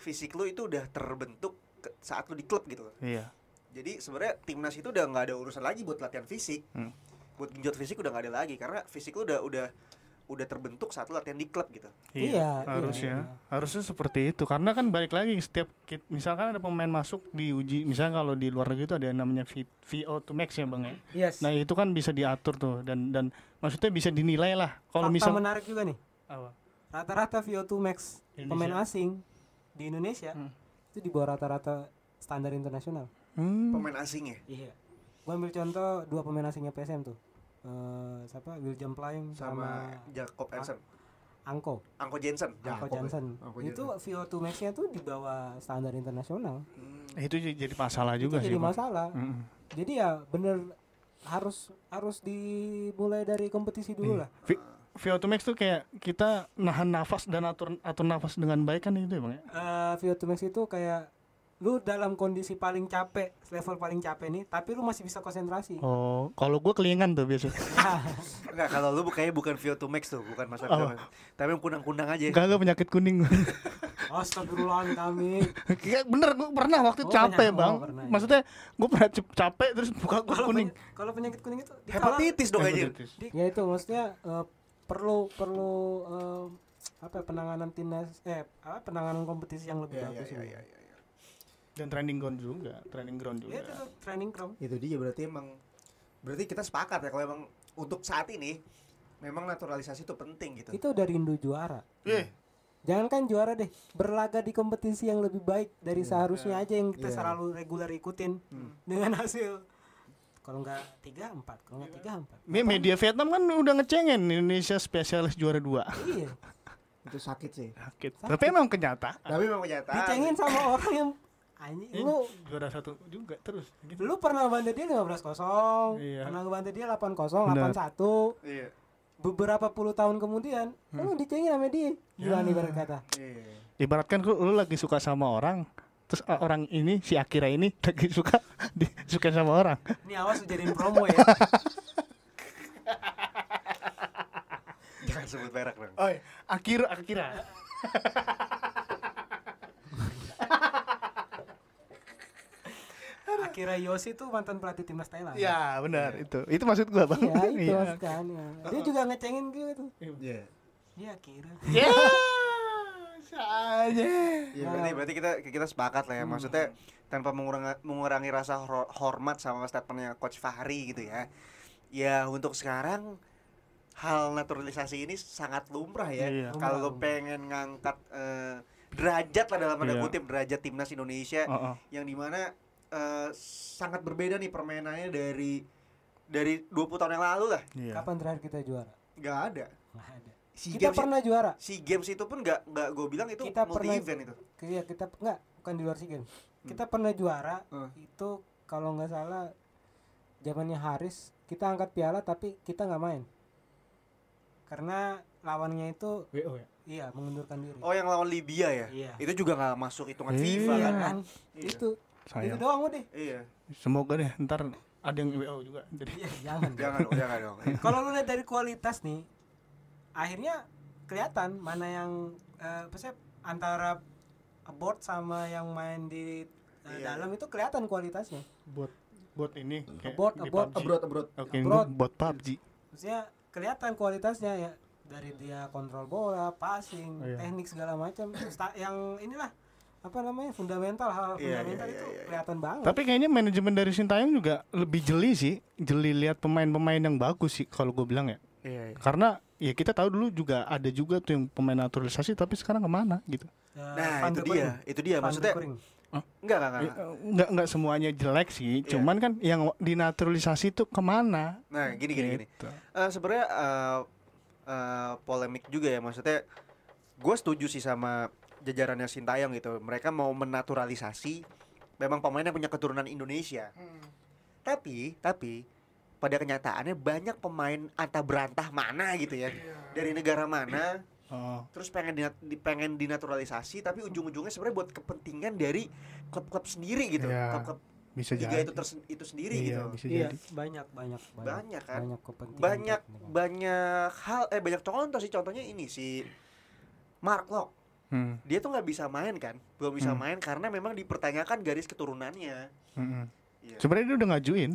[SPEAKER 1] fisik lo itu udah terbentuk ke- saat lo di klub gitu. loh.
[SPEAKER 2] Iya.
[SPEAKER 1] Jadi sebenarnya timnas itu udah nggak ada urusan lagi buat latihan fisik.
[SPEAKER 2] Hmm.
[SPEAKER 1] Buat genjot fisik udah nggak ada lagi karena fisik lo udah udah udah terbentuk saat lo latihan di klub gitu.
[SPEAKER 3] Iya, iya,
[SPEAKER 2] harusnya
[SPEAKER 3] iya.
[SPEAKER 2] harusnya seperti itu karena kan balik lagi setiap kit- misalkan ada pemain masuk diuji misalnya kalau di luar negeri itu ada yang namanya V- VO2 max ya bang ya
[SPEAKER 3] Yes.
[SPEAKER 2] nah itu kan bisa diatur tuh dan dan maksudnya bisa dinilai lah kalau
[SPEAKER 3] Fakta
[SPEAKER 2] misal
[SPEAKER 3] menarik juga nih.
[SPEAKER 2] Apa?
[SPEAKER 3] Rata-rata VO2 max
[SPEAKER 2] Indonesia.
[SPEAKER 3] pemain asing di Indonesia itu di bawah rata-rata standar internasional.
[SPEAKER 2] Hmm,
[SPEAKER 1] Pemain asing ya.
[SPEAKER 3] Iya. Gua ambil contoh dua pemain asingnya PSM tuh. Eh siapa? William Plaim
[SPEAKER 1] sama
[SPEAKER 3] sama,
[SPEAKER 1] Jacob Anson,
[SPEAKER 3] Angko,
[SPEAKER 1] Angko Jensen.
[SPEAKER 3] Angko
[SPEAKER 5] Jakob ya.
[SPEAKER 3] Johnson.
[SPEAKER 5] Angko
[SPEAKER 3] itu VO2 max-nya tuh di bawah standar internasional.
[SPEAKER 2] itu j- jadi masalah juga
[SPEAKER 3] itu
[SPEAKER 2] sih
[SPEAKER 3] jadi
[SPEAKER 2] Bang.
[SPEAKER 3] masalah.
[SPEAKER 2] Mm-mm.
[SPEAKER 3] Jadi ya bener harus harus dimulai dari kompetisi dulu lah.
[SPEAKER 2] V- VO2 max tuh kayak kita nahan nafas dan atur atur nafas dengan baik kan itu ya bang ya
[SPEAKER 3] eh VO2 max itu kayak lu dalam kondisi paling capek, level paling capek nih, tapi lu masih bisa konsentrasi.
[SPEAKER 2] oh kalau gue kelingan tuh biasa
[SPEAKER 1] Enggak, kalau lu bu- kayaknya bukan VO2 Max tuh, bukan masalah
[SPEAKER 2] Oh.
[SPEAKER 1] VO2 Max. Tapi yang kunang-kunang aja.
[SPEAKER 3] Iya.
[SPEAKER 2] Gak gak penyakit kuning [laughs] gua.
[SPEAKER 3] [laughs] Astagfirullahaladzim
[SPEAKER 2] [laughs]
[SPEAKER 3] kami.
[SPEAKER 2] Kayak bener gue pernah waktu itu
[SPEAKER 3] Oh,
[SPEAKER 2] capek
[SPEAKER 3] pernah. Oh,
[SPEAKER 2] bang
[SPEAKER 3] pernah, iya.
[SPEAKER 2] maksudnya gue pernah cap- capek terus buka gue
[SPEAKER 3] Kalau
[SPEAKER 2] kuning
[SPEAKER 3] peny- Kalau penyakit kuning itu di kala-
[SPEAKER 1] Hepatitis dong aja.
[SPEAKER 2] Hepatitis.
[SPEAKER 3] Ya itu maksudnya eh, perlu perlu eh, apa ya, penanganan timnas eh apa penanganan kompetisi yang lebih bagus. ini.
[SPEAKER 2] dan training ground juga training ground
[SPEAKER 3] Ya, itu
[SPEAKER 2] juga
[SPEAKER 3] tuh training ground.
[SPEAKER 5] Itu dia berarti emang
[SPEAKER 1] Berarti kita sepakat ya kalau emang untuk saat ini memang naturalisasi itu penting gitu.
[SPEAKER 3] Itu udah rindu juara.
[SPEAKER 2] Iya.
[SPEAKER 3] Jangankan juara deh, berlaga di kompetisi yang lebih baik dari seharusnya aja yang kita
[SPEAKER 5] Iya.
[SPEAKER 3] selalu reguler ikutin dengan hasil kalau nggak tiga empat, kalau nggak tiga empat.
[SPEAKER 2] Me- media Vietnam kan udah ngecengin Indonesia spesialis juara dua
[SPEAKER 3] Iya,
[SPEAKER 5] itu sakit sih.
[SPEAKER 2] sakit tapi emang kenyataan
[SPEAKER 1] Tapi memang kenyataan.
[SPEAKER 3] dicengin sama orang yang anjing
[SPEAKER 2] Ini
[SPEAKER 3] lu
[SPEAKER 2] juara satu juga terus gitu.
[SPEAKER 3] lu pernah bantai dia 15 kosong,
[SPEAKER 2] Iya.
[SPEAKER 3] pernah bantai dia 8 kosong,
[SPEAKER 2] Benar.
[SPEAKER 3] 8 satu,
[SPEAKER 1] Iya.
[SPEAKER 3] beberapa puluh tahun kemudian
[SPEAKER 2] Hmm.
[SPEAKER 3] lu dicengin sama dia gimana
[SPEAKER 2] Ya.
[SPEAKER 3] ibarat kata
[SPEAKER 1] Iya.
[SPEAKER 2] ibaratkan lu, lu lagi suka sama orang terus uh, orang ini si Akira ini [laughs] lagi suka di, suka sama orang
[SPEAKER 3] ini awas lu jadiin promo [laughs] ya
[SPEAKER 1] Jangan sebut merek dong.
[SPEAKER 2] oh Akira Akira
[SPEAKER 3] akhirnya Yosi tuh mantan pelatih timnas Thailand
[SPEAKER 2] ya benar itu itu maksud gua bang
[SPEAKER 3] Iya, itu
[SPEAKER 2] Iya.
[SPEAKER 3] maksud kan ya. dia juga ngecengin gitu
[SPEAKER 5] Iya.
[SPEAKER 3] dia akhirnya
[SPEAKER 2] [laughs] Ya, bisa aja.
[SPEAKER 1] Iya, berarti berarti kita kita sepakat lah ya. Maksudnya tanpa mengurangi, mengurangi rasa hor- hormat sama statementnya Coach Fahri gitu ya. Ya untuk sekarang hal naturalisasi ini sangat lumrah ya.
[SPEAKER 2] Iya.
[SPEAKER 1] Kalau lo pengen ngangkat eh, derajat lah dalam tanda
[SPEAKER 2] Iya.
[SPEAKER 1] kutip derajat timnas Indonesia
[SPEAKER 2] Oh, oh.
[SPEAKER 1] yang dimana eh, sangat berbeda nih permainannya dari dari 20 tahun yang lalu lah.
[SPEAKER 2] Iya.
[SPEAKER 3] kapan terakhir kita juara
[SPEAKER 1] nggak ada.
[SPEAKER 3] nggak ada
[SPEAKER 1] Si
[SPEAKER 3] kita
[SPEAKER 1] games
[SPEAKER 3] pernah juara
[SPEAKER 1] si games itu pun nggak nggak gue bilang itu
[SPEAKER 3] kita
[SPEAKER 1] multi
[SPEAKER 3] pernah
[SPEAKER 1] event itu.
[SPEAKER 3] iya kita nggak bukan di luar sea games kita pernah juara
[SPEAKER 1] Hmm.
[SPEAKER 3] itu kalau nggak salah zamannya Haris kita angkat piala tapi kita nggak main karena lawannya itu
[SPEAKER 2] WO ya.
[SPEAKER 3] iya mengundurkan diri
[SPEAKER 1] Oh yang lawan Libya ya?
[SPEAKER 3] Iya.
[SPEAKER 1] Itu juga nggak masuk hitungan
[SPEAKER 2] Iya.
[SPEAKER 1] FIFA
[SPEAKER 3] Iya
[SPEAKER 1] kan?
[SPEAKER 3] kan?
[SPEAKER 1] Iya.
[SPEAKER 3] Itu. Itu
[SPEAKER 2] Sayang.
[SPEAKER 3] doang udah.
[SPEAKER 1] Iya.
[SPEAKER 2] Semoga deh ntar ada yang WO juga. Jadi
[SPEAKER 3] Iya, jangan.
[SPEAKER 1] Jangan dong, jangan
[SPEAKER 2] [laughs]
[SPEAKER 1] dong.
[SPEAKER 2] Iya,
[SPEAKER 3] Kalau lu lihat dari kualitas nih, akhirnya kelihatan mana yang eh, apa sih, antara board sama yang main di eh,
[SPEAKER 1] Iya.
[SPEAKER 3] dalam itu kelihatan kualitasnya.
[SPEAKER 2] buat buat ini kayak
[SPEAKER 3] Abort,
[SPEAKER 2] di
[SPEAKER 3] abort,
[SPEAKER 2] PUBG.
[SPEAKER 5] Abroad abroad.
[SPEAKER 2] Oke,
[SPEAKER 3] Abort.
[SPEAKER 2] ini buat PUBG.
[SPEAKER 3] Maksudnya kelihatan kualitasnya ya dari dia kontrol bola, passing,
[SPEAKER 2] Iya.
[SPEAKER 3] teknik segala macam. Sta- yang inilah apa namanya fundamental hal
[SPEAKER 1] Iya,
[SPEAKER 3] fundamental
[SPEAKER 1] iya,
[SPEAKER 3] itu
[SPEAKER 1] iya, iya.
[SPEAKER 3] kelihatan banget.
[SPEAKER 2] Tapi kayaknya manajemen dari Sintayong juga lebih jeli sih, jeli lihat pemain-pemain yang bagus sih kalau gue bilang ya.
[SPEAKER 1] Iya.
[SPEAKER 2] Karena ya kita tahu dulu juga ada juga tuh yang pemain naturalisasi tapi sekarang kemana gitu.
[SPEAKER 3] Eh,
[SPEAKER 1] Nah,
[SPEAKER 3] Van
[SPEAKER 1] itu
[SPEAKER 3] de
[SPEAKER 1] dia,
[SPEAKER 3] Koering.
[SPEAKER 1] itu dia
[SPEAKER 3] Van de
[SPEAKER 1] maksudnya.
[SPEAKER 3] Koering.
[SPEAKER 1] Enggak, enggak,
[SPEAKER 2] Ya,
[SPEAKER 1] enggak.
[SPEAKER 2] Nggak nggak semuanya jelek
[SPEAKER 1] Nah.
[SPEAKER 2] sih,
[SPEAKER 1] Iya.
[SPEAKER 2] cuman kan yang dinaturalisasi tuh kemana?
[SPEAKER 1] Nah, gini gini gini.
[SPEAKER 2] Gitu.
[SPEAKER 1] Eh, sebenarnya eh, eh, polemik juga ya maksudnya gue setuju sih sama jajarannya Sintayong gitu mereka mau menaturalisasi memang pemain yang punya keturunan Indonesia.
[SPEAKER 3] Hmm.
[SPEAKER 1] Tapi tapi pada kenyataannya banyak pemain antah berantah mana gitu ya
[SPEAKER 3] Iya.
[SPEAKER 1] dari negara mana
[SPEAKER 2] Oh.
[SPEAKER 1] terus pengen dinat- di, pengen dinaturalisasi tapi ujung-ujungnya sebenarnya buat kepentingan dari klub-klub sendiri gitu
[SPEAKER 2] Iya.
[SPEAKER 1] klub-klub
[SPEAKER 2] bisa
[SPEAKER 1] liga
[SPEAKER 2] jadi
[SPEAKER 1] itu tersen- itu sendiri
[SPEAKER 2] iya,
[SPEAKER 1] gitu
[SPEAKER 2] bisa
[SPEAKER 3] Iya,
[SPEAKER 2] jadi
[SPEAKER 3] banyak banyak
[SPEAKER 1] Banyak, kan?
[SPEAKER 3] Banyak kepentingan.
[SPEAKER 1] banyak
[SPEAKER 3] kepentingan.
[SPEAKER 1] banyak hal eh banyak contoh sih contohnya ini si Mark Locke
[SPEAKER 2] Hmm,
[SPEAKER 1] dia tuh nggak bisa main kan belum bisa
[SPEAKER 2] Hmm.
[SPEAKER 1] main karena memang dipertanyakan garis keturunannya
[SPEAKER 2] hmm, hmm.
[SPEAKER 1] Iya.
[SPEAKER 2] sebenarnya dia udah ngajuin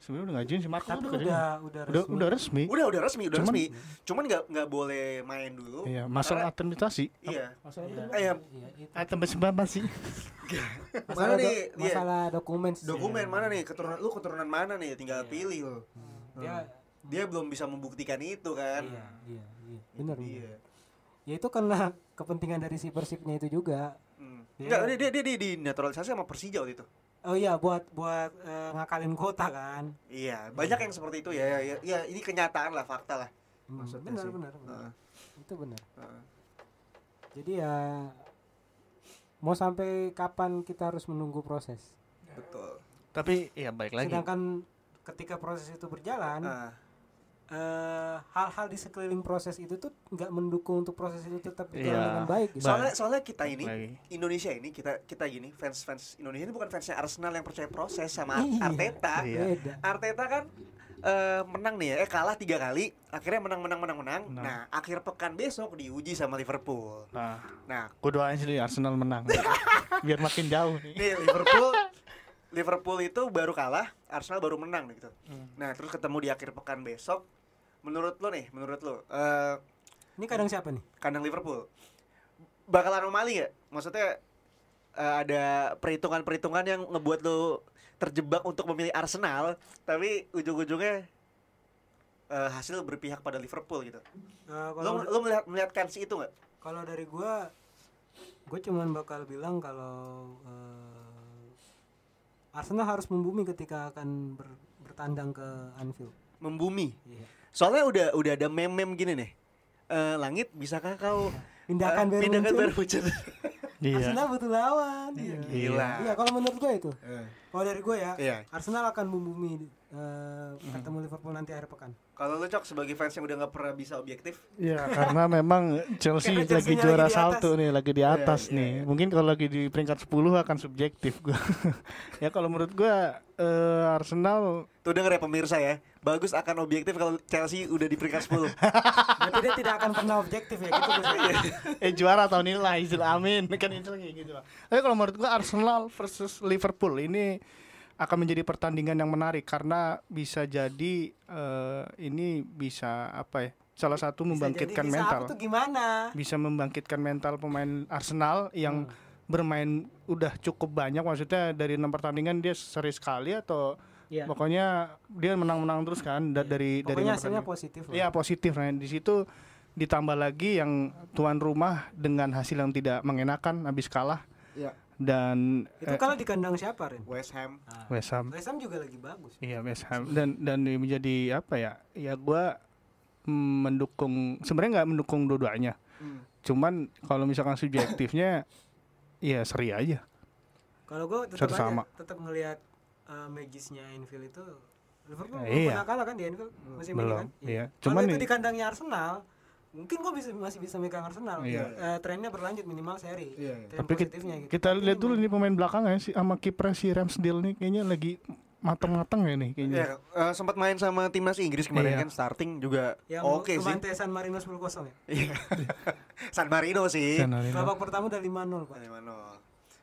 [SPEAKER 2] sebenarnya udah ngajuin si Marco
[SPEAKER 3] Tapi
[SPEAKER 2] udah,
[SPEAKER 3] udah
[SPEAKER 2] udah,
[SPEAKER 3] udah
[SPEAKER 2] udah
[SPEAKER 3] resmi.
[SPEAKER 2] resmi
[SPEAKER 1] udah udah resmi udah
[SPEAKER 2] Cuman-
[SPEAKER 1] resmi cuman nggak nggak boleh main dulu
[SPEAKER 2] iya masalah administrasi
[SPEAKER 1] karena, iya
[SPEAKER 3] Iya,
[SPEAKER 1] Eh, ya.
[SPEAKER 3] iya, itu.
[SPEAKER 2] atau apa sih
[SPEAKER 1] mana
[SPEAKER 3] Masalah, do-
[SPEAKER 1] nih iya,
[SPEAKER 3] masalah dokumen sih.
[SPEAKER 1] dokumen mana
[SPEAKER 2] Iya.
[SPEAKER 1] nih keturunan lu keturunan mana nih tinggal
[SPEAKER 3] Iya.
[SPEAKER 1] pilih lo
[SPEAKER 3] Dia
[SPEAKER 1] dia belum bisa membuktikan itu kan
[SPEAKER 3] iya, iya, iya. Benar. benar.
[SPEAKER 1] iya
[SPEAKER 3] Ya itu karena kepentingan dari si Persibnya itu juga.
[SPEAKER 1] Hmm. Nggak,
[SPEAKER 3] Iya.
[SPEAKER 1] dia, dia, dia dinaturalisasi sama Persija waktu itu
[SPEAKER 3] Oh iya, buat buat eh, ngakalin kuota kan.
[SPEAKER 1] Iya, banyak yang seperti itu ya. Ya, ya, ya, ini kenyataan lah, fakta lah.
[SPEAKER 3] Hmm,
[SPEAKER 1] Maksudnya
[SPEAKER 3] benar,
[SPEAKER 1] sih. Ah.
[SPEAKER 3] benar, benar.
[SPEAKER 1] Heeh,
[SPEAKER 3] Itu benar.
[SPEAKER 1] heeh.
[SPEAKER 3] Jadi ya mau sampai kapan kita harus menunggu proses?
[SPEAKER 1] betul.
[SPEAKER 2] tapi ya baik lagi
[SPEAKER 3] Sedangkan ketika proses itu berjalan,
[SPEAKER 1] Heeh.
[SPEAKER 3] eh, hal-hal di sekeliling proses itu tuh nggak mendukung untuk proses itu tetap berjalan
[SPEAKER 2] Iya.
[SPEAKER 3] dengan baik. Gitu.
[SPEAKER 1] soalnya soalnya kita ini
[SPEAKER 2] lagi.
[SPEAKER 1] Indonesia ini kita kita gini fans fans Indonesia ini bukan fansnya Arsenal yang percaya proses sama
[SPEAKER 3] Iya.
[SPEAKER 1] Arteta.
[SPEAKER 2] Iya.
[SPEAKER 3] Beda.
[SPEAKER 1] Arteta kan eh, menang nih ya, eh kalah tiga kali, akhirnya menang menang menang menang.
[SPEAKER 2] Nah.
[SPEAKER 1] Nah akhir pekan besok diuji sama Liverpool.
[SPEAKER 2] nah
[SPEAKER 1] Nah
[SPEAKER 2] gua doain sih Arsenal menang biar makin jauh nih
[SPEAKER 1] nih Liverpool Liverpool itu baru kalah, Arsenal baru menang gitu. Nah terus ketemu di akhir pekan besok. Menurut lo nih, menurut lo eh,
[SPEAKER 3] Ini kadang siapa nih?
[SPEAKER 1] kandang Liverpool bakal anomali nggak? Maksudnya eh, ada perhitungan-perhitungan yang ngebuat lo terjebak untuk memilih Arsenal, tapi ujung-ujungnya eh, hasil berpihak pada Liverpool gitu.
[SPEAKER 3] Eh,
[SPEAKER 1] Lo, lo melihat melihat kans itu nggak?
[SPEAKER 3] Kalau dari gua gue cuman bakal bilang kalau eh, Arsenal harus membumi ketika akan ber- bertandang ke Anfield.
[SPEAKER 1] Membumi.
[SPEAKER 3] Iya.
[SPEAKER 1] Soalnya udah udah ada meme-meme gini nih. Eh, langit bisakah kau
[SPEAKER 3] Pindahkan
[SPEAKER 1] eh,
[SPEAKER 3] Bayern
[SPEAKER 1] pindahkan
[SPEAKER 3] Munchen.
[SPEAKER 1] Bayern
[SPEAKER 2] [laughs]
[SPEAKER 1] Munchen?
[SPEAKER 2] iya
[SPEAKER 1] Eh.
[SPEAKER 3] Arsenal butuh lawan. Iya.
[SPEAKER 1] Gila.
[SPEAKER 3] Iya, kalau menurut gue itu.
[SPEAKER 1] Eh,
[SPEAKER 3] Kalau dari gue ya,
[SPEAKER 1] Iya.
[SPEAKER 3] Arsenal akan membumi eh,
[SPEAKER 2] Hmm.
[SPEAKER 3] ketemu Liverpool nanti akhir pekan.
[SPEAKER 1] Kalau lo cok sebagai fans yang udah nggak pernah bisa objektif,
[SPEAKER 2] Ya karena memang Chelsea
[SPEAKER 3] Karena
[SPEAKER 2] lagi
[SPEAKER 3] Chelsea-nya
[SPEAKER 2] juara
[SPEAKER 3] lagi di
[SPEAKER 2] satu nih, lagi di atas
[SPEAKER 1] iya,
[SPEAKER 2] nih. Mungkin kalau lagi di peringkat 10 akan subjektif gua. [laughs] ya kalau menurut gua eh, Arsenal
[SPEAKER 1] tuh denger ya pemirsa ya, bagus akan objektif kalau Chelsea udah di peringkat [laughs] 10
[SPEAKER 3] Berarti dia tidak akan pernah objektif ya gitu gue sih.
[SPEAKER 2] eh juara tahun ini lah, Izil amin. Kan itu kayak gitu lah. Tapi kalau menurut gua Arsenal versus Liverpool ini akan menjadi pertandingan yang menarik karena bisa jadi eh, ini bisa apa ya? Salah satu membangkitkan
[SPEAKER 3] Bisa jadi
[SPEAKER 2] mental.
[SPEAKER 3] Bisa apa tuh gimana?
[SPEAKER 2] bisa membangkitkan mental pemain Arsenal yang
[SPEAKER 3] Hmm.
[SPEAKER 2] bermain udah cukup banyak maksudnya dari enam pertandingan dia seri sekali atau
[SPEAKER 3] Iya.
[SPEAKER 2] pokoknya dia menang-menang terus kan da- dari dari
[SPEAKER 3] Pokoknya
[SPEAKER 2] enam
[SPEAKER 3] hasilnya
[SPEAKER 2] pertandingan.
[SPEAKER 3] positif lah.
[SPEAKER 2] Iya positif nah di situ ditambah lagi yang tuan rumah dengan hasil yang tidak mengenakan habis kalah
[SPEAKER 6] Iya.
[SPEAKER 2] dan eh,
[SPEAKER 3] Itu
[SPEAKER 2] Hmm.
[SPEAKER 3] kalau di kandang siapa, Ren?
[SPEAKER 1] West Ham.
[SPEAKER 2] West Ham
[SPEAKER 3] West Ham juga lagi bagus.
[SPEAKER 2] Iya West Ham dan dan menjadi apa ya? Ya gua mm, mendukung sebenarnya nggak mendukung dua-duanya. Cuman kalau misalkan subjektifnya [laughs] ya seri aja.
[SPEAKER 3] Kalau gue tetap
[SPEAKER 2] Satu
[SPEAKER 3] aja,
[SPEAKER 2] sama.
[SPEAKER 3] tetap ngelihat eh, magisnya Anfield itu Liverpool
[SPEAKER 2] Nah,
[SPEAKER 3] belum
[SPEAKER 2] iya.
[SPEAKER 3] pernah kalah kan di Anfield musim ini
[SPEAKER 2] Belum,
[SPEAKER 3] kan?
[SPEAKER 2] iya.
[SPEAKER 3] Cuman
[SPEAKER 2] Cuman
[SPEAKER 3] itu
[SPEAKER 2] i-
[SPEAKER 3] di kandangnya Arsenal, mungkin gue bisa masih bisa megang Arsenal.
[SPEAKER 2] Iya.
[SPEAKER 3] Eh, trennya berlanjut minimal seri.
[SPEAKER 6] Iya, iya.
[SPEAKER 3] Tren
[SPEAKER 2] Tapi kita,
[SPEAKER 3] positifnya gitu.
[SPEAKER 2] kita lihat dulu nih pemain belakangnya sih sama kiper si Ramsdale nih kayaknya lagi mateng-mateng ya nih kayaknya.
[SPEAKER 1] Ya, eh, sempat main sama timnas Inggris kemarin
[SPEAKER 2] Iya. Ya,
[SPEAKER 1] kan starting juga
[SPEAKER 3] Yang
[SPEAKER 1] oke sih.
[SPEAKER 3] kebantai San Marino 10-0 ya.
[SPEAKER 1] Iya. [laughs] San Marino sih.
[SPEAKER 2] San Marino.
[SPEAKER 3] Babak pertama udah 5-0, Pak.
[SPEAKER 1] San Marino.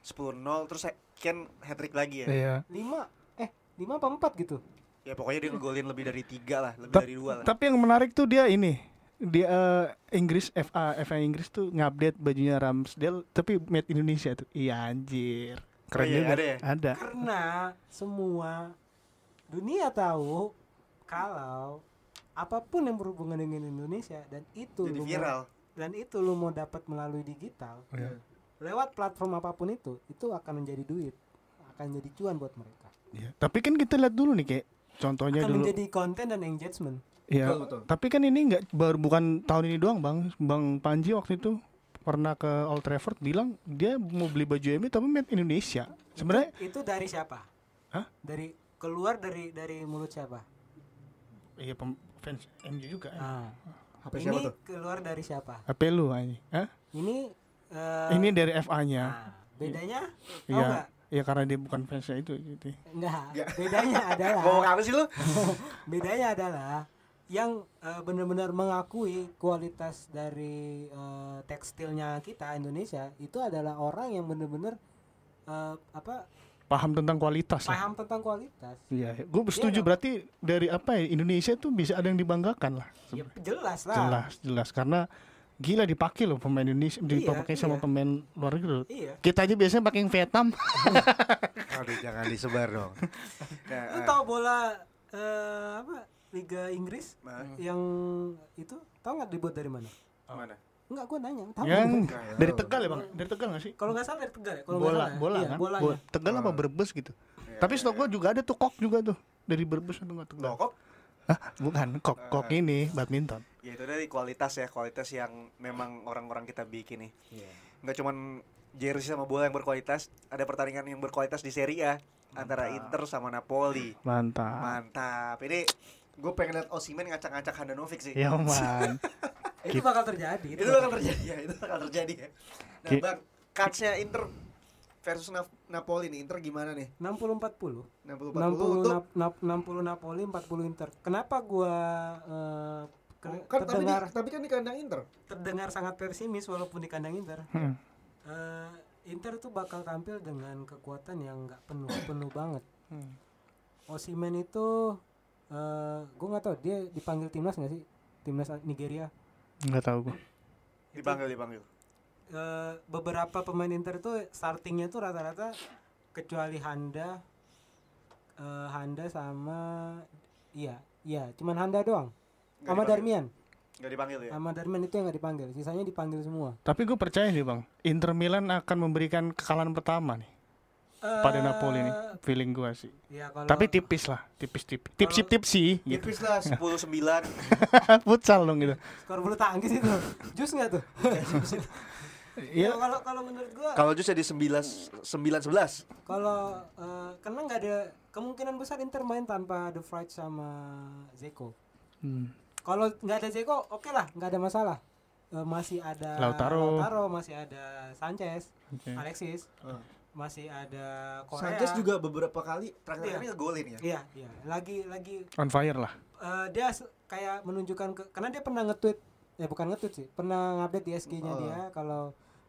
[SPEAKER 1] 10-0 terus Ken hat trick lagi ya.
[SPEAKER 2] Iya.
[SPEAKER 3] 5 eh 5 apa 4 gitu.
[SPEAKER 1] Ya pokoknya dia ngegolin lebih dari 3 lah, lebih
[SPEAKER 2] Tap-
[SPEAKER 1] dari 2 lah.
[SPEAKER 2] Tapi yang menarik tuh dia ini dia eh, Inggris FA FA Inggris tuh ngupdate bajunya Ramsdale tapi made Indonesia tuh. Iya anjir. Keren
[SPEAKER 1] Oh iya,
[SPEAKER 2] juga.
[SPEAKER 1] ada ya?
[SPEAKER 2] ada.
[SPEAKER 3] Karena semua dunia tahu kalau apapun yang berhubungan dengan Indonesia dan itu
[SPEAKER 1] Jadi
[SPEAKER 3] lu mau-
[SPEAKER 1] viral.
[SPEAKER 3] dan itu lu mau dapat melalui digital
[SPEAKER 2] Iya.
[SPEAKER 3] lewat platform apapun itu itu akan menjadi duit akan jadi cuan buat mereka
[SPEAKER 2] Iya, Tapi kan kita lihat dulu nih kayak contohnya
[SPEAKER 3] akan
[SPEAKER 2] Iya, dulu.
[SPEAKER 3] menjadi konten dan engagement
[SPEAKER 2] Iya.
[SPEAKER 6] Betul, betul.
[SPEAKER 2] Tapi kan ini nggak baru bukan tahun ini doang bang, bang Panji waktu itu pernah ke Old Trafford bilang dia mau beli baju MU tapi made Indonesia. Sebenarnya
[SPEAKER 3] Itu dari siapa?
[SPEAKER 2] Hah?
[SPEAKER 3] Dari keluar dari dari mulut siapa?
[SPEAKER 2] iya pem- fans MU juga. ya.
[SPEAKER 3] Ah.
[SPEAKER 1] HP
[SPEAKER 3] Ini
[SPEAKER 1] siapa tuh?
[SPEAKER 3] keluar dari siapa?
[SPEAKER 2] HP lu anjing. Hah?
[SPEAKER 3] Ini eh,
[SPEAKER 2] Ini dari FA-nya.
[SPEAKER 3] nah, bedanya? Tahu
[SPEAKER 2] Iya.
[SPEAKER 3] nggak?
[SPEAKER 2] Iya karena dia bukan fansnya itu gitu.
[SPEAKER 3] Enggak.
[SPEAKER 1] [laughs]
[SPEAKER 3] Bedanya adalah
[SPEAKER 6] Ngomong apa sih lu?
[SPEAKER 3] [laughs] bedanya adalah yang eh, benar-benar mengakui kualitas dari eh, tekstilnya kita Indonesia itu adalah orang yang benar-benar eh, apa
[SPEAKER 2] Paham tentang kualitas lah.
[SPEAKER 3] paham tentang kualitas.
[SPEAKER 2] Iya, gue setuju
[SPEAKER 3] dong.
[SPEAKER 2] berarti dari apa ya Indonesia tuh bisa ada yang dibanggakan lah.
[SPEAKER 3] Ya, jelas lah.
[SPEAKER 2] Iya, Jelas, jelas karena gila dipakai loh pemain Indonesia dipakai sama
[SPEAKER 3] iya.
[SPEAKER 2] pemain luar negeri. loh.
[SPEAKER 3] Iya.
[SPEAKER 2] Kita aja biasanya pakai yang Vietnam.
[SPEAKER 1] Aduh, jangan disebar
[SPEAKER 6] [laughs]
[SPEAKER 1] dong. Nah,
[SPEAKER 3] Lu
[SPEAKER 6] eh.
[SPEAKER 1] ah,
[SPEAKER 3] tahu bola eh, apa Liga Inggris
[SPEAKER 1] Nah.
[SPEAKER 3] yang itu tahu nggak dibuat dari mana?
[SPEAKER 6] eh,
[SPEAKER 1] mana?
[SPEAKER 3] Enggak, gua nanya. Tahu
[SPEAKER 2] yang
[SPEAKER 3] nggak?
[SPEAKER 2] Iya kan? dari Tegal ya, Bang? Dari Tegal gak sih?
[SPEAKER 3] Kalau nggak salah dari Tegal ya? Kalau nggak
[SPEAKER 2] bola,
[SPEAKER 3] salah ya?
[SPEAKER 2] bola
[SPEAKER 3] Iya,
[SPEAKER 2] kan?
[SPEAKER 3] bolanya. Ah. Iya,
[SPEAKER 2] Bola. Tegal apa Brebes gitu. Tapi stok gua juga ada tuh kok juga tuh. Dari Brebes atau enggak Tegal.
[SPEAKER 6] Rokok?
[SPEAKER 2] Hah? Bukan, kok
[SPEAKER 3] Ah.
[SPEAKER 2] kok ini badminton.
[SPEAKER 6] Ya itu dari kualitas ya, kualitas yang memang orang-orang kita bikin nih.
[SPEAKER 1] Iya.
[SPEAKER 6] Nggak cuman jersey sama bola yang berkualitas, ada pertandingan yang berkualitas di Serie A antara Inter sama Napoli.
[SPEAKER 2] Mantap.
[SPEAKER 6] Mantap. Ini gue pengen liat Osimen ngacak-ngacak Handanovic sih.
[SPEAKER 1] Iya.
[SPEAKER 2] Ya
[SPEAKER 3] [laughs]
[SPEAKER 2] man.
[SPEAKER 3] Itu bakal terjadi.
[SPEAKER 6] Itu bakal terjadi ya, itu bakal terjadi ya. Nah,
[SPEAKER 2] Ki-
[SPEAKER 6] Bang, kansnya Inter versus Nap- Napoli nih, Inter gimana nih?
[SPEAKER 3] 60-40.
[SPEAKER 6] 60 40
[SPEAKER 3] 60
[SPEAKER 6] untuk
[SPEAKER 3] Nap- Nap- 60 Napoli 40 Inter. Kenapa gua eh, ke-
[SPEAKER 6] kan tapi di,
[SPEAKER 3] terdengar
[SPEAKER 6] tapi kan di kandang Inter.
[SPEAKER 3] terdengar sangat pesimis walaupun di kandang Inter.
[SPEAKER 2] Hmm.
[SPEAKER 3] Eh, Inter tuh bakal tampil dengan kekuatan yang nggak
[SPEAKER 6] [coughs]
[SPEAKER 3] penuh penuh banget. Osimen itu eh gue nggak tahu dia dipanggil timnas nggak sih timnas Nigeria.
[SPEAKER 2] Enggak tahu gua.
[SPEAKER 6] Dipanggil dipanggil.
[SPEAKER 3] Eh, beberapa pemain Inter tuh startingnya tuh rata-rata kecuali Handa, eh, Handa sama iya iya cuman Handa doang.
[SPEAKER 6] Nggak
[SPEAKER 3] Sama
[SPEAKER 6] dipanggil.
[SPEAKER 3] Darmian,
[SPEAKER 6] Enggak dipanggil
[SPEAKER 2] Iya.
[SPEAKER 6] ya.
[SPEAKER 3] sama Darmian itu yang nggak dipanggil, sisanya dipanggil semua.
[SPEAKER 2] Tapi gue percaya nih bang, Inter Milan akan memberikan kekalahan pertama nih pada Napoli nih, feeling gue sih.
[SPEAKER 3] Ya Eh, kalau
[SPEAKER 2] Tapi tipis lah, tipis-tipis, tipsi-tipsi
[SPEAKER 1] Iya.
[SPEAKER 2] gitu.
[SPEAKER 6] Tipis lah 10 9.
[SPEAKER 2] [laughs] Futsal dong gitu.
[SPEAKER 3] skor bulu tangkis itu, [laughs] jus nggak tuh? ya
[SPEAKER 2] Iya.
[SPEAKER 3] kalau kalau menurut gua
[SPEAKER 6] Kalau Jus jadi 9 9 11.
[SPEAKER 3] kalau eh, karena nggak ada kemungkinan besar Inter main tanpa The Fright sama Zeko.
[SPEAKER 2] Hmm.
[SPEAKER 3] Kalau nggak ada Zeko, oke lah, nggak ada masalah. Eh, masih ada
[SPEAKER 2] Lautaro.
[SPEAKER 3] masih ada Sanchez,
[SPEAKER 2] Oke. Ah.
[SPEAKER 3] Alexis,
[SPEAKER 1] Eh.
[SPEAKER 3] masih ada Korea.
[SPEAKER 5] Sanchez juga beberapa kali
[SPEAKER 6] Terakhir kali ngegolin ya.
[SPEAKER 3] Iya, iya. Lagi lagi
[SPEAKER 2] On fire lah.
[SPEAKER 3] eh, dia se- kayak menunjukkan ke karena dia pernah nge-tweet, ya bukan nge-tweet sih, pernah update di SG-nya
[SPEAKER 5] Oh.
[SPEAKER 3] dia kalau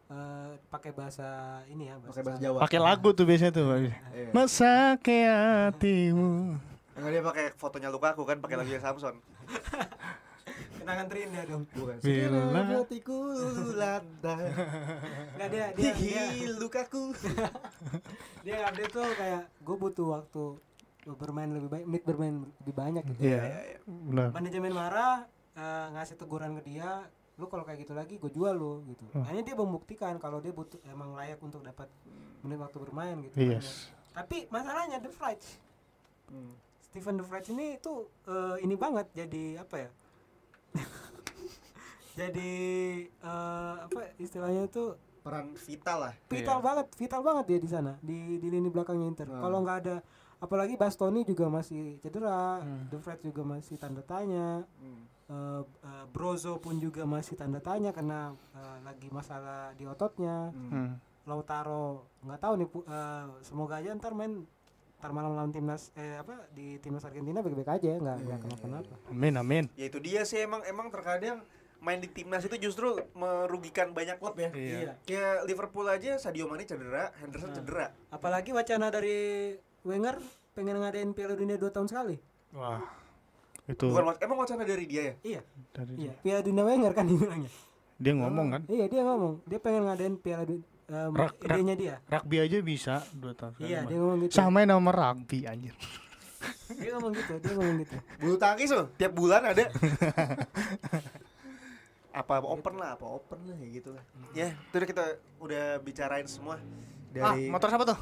[SPEAKER 3] eh, pakai bahasa ini ya,
[SPEAKER 5] pakai bahasa Jawa.
[SPEAKER 2] Pakai lagu tuh biasanya tuh. Masa ke hatimu.
[SPEAKER 6] Enggak dia pakai fotonya Lukaku kan pakai lagunya Samson.
[SPEAKER 3] Kenangan terindah dong.
[SPEAKER 5] Bukan.
[SPEAKER 2] Bila- Iya,
[SPEAKER 5] Sekiranya hatiku lantai.
[SPEAKER 3] Nggak dia
[SPEAKER 5] [laughs]
[SPEAKER 3] dia dia,
[SPEAKER 6] Gigi Lukaku.
[SPEAKER 3] dia update tuh kayak gue butuh waktu bermain lebih baik, menit bermain lebih banyak gitu.
[SPEAKER 2] Iya. Benar.
[SPEAKER 3] manajemen marah eh, ngasih teguran ke dia lu kalau kayak gitu lagi gue jual lu gitu
[SPEAKER 5] Hmm.
[SPEAKER 3] hanya dia membuktikan kalau dia butuh emang layak untuk dapat menit waktu bermain gitu
[SPEAKER 5] Iya.
[SPEAKER 2] Yes.
[SPEAKER 3] tapi masalahnya the Vrij Steven the Vrij ini tuh eh, ini banget jadi apa ya [laughs] jadi eh, apa istilahnya tuh
[SPEAKER 6] Peran vital lah.
[SPEAKER 3] vital banget vital banget dia di sana di di lini belakangnya Inter kalau nggak ada apalagi Bastoni juga masih cedera De Vrij juga masih tanda tanya Eh, eh, Brozo pun juga masih tanda tanya karena eh, lagi masalah di ototnya
[SPEAKER 2] Hmm.
[SPEAKER 3] Lautaro nggak tahu nih pu- eh, semoga aja ntar main ntar malam lawan timnas eh apa di timnas Argentina baik-baik aja nggak nggak kenapa-napa
[SPEAKER 2] Amin amin.
[SPEAKER 6] Ya itu dia sih emang emang terkadang main di timnas itu justru merugikan banyak klub ya.
[SPEAKER 3] Iya.
[SPEAKER 6] Kayak Liverpool aja Sadio Mane cedera, Henderson cedera.
[SPEAKER 3] apalagi wacana dari Wenger pengen ngadain Piala Dunia dua tahun sekali
[SPEAKER 2] Wah. Itu
[SPEAKER 6] Bukan wa- emang wacana dari dia ya?
[SPEAKER 3] iya
[SPEAKER 2] dari
[SPEAKER 3] iya Piala Dunia Wenger kan dibilangnya
[SPEAKER 2] dia ngomong kan.
[SPEAKER 3] Iya dia ngomong, dia pengen ngadain piala dunia um,
[SPEAKER 2] Rak- rak-
[SPEAKER 3] idenya dia.
[SPEAKER 2] Rugby aja bisa dua tahun. sekali,
[SPEAKER 3] Iya
[SPEAKER 2] Bang.
[SPEAKER 3] dia ngomong gitu.
[SPEAKER 2] Samain nama rugby anjir.
[SPEAKER 3] Dia ngomong gitu, dia ngomong gitu.
[SPEAKER 6] Bulu tangkis loh, tiap bulan ada. apa open lah, apa open lah ya gitu lah. Ya, itu udah kita udah bicarain semua Ah,
[SPEAKER 2] Ah,
[SPEAKER 6] dari
[SPEAKER 2] motor siapa tuh?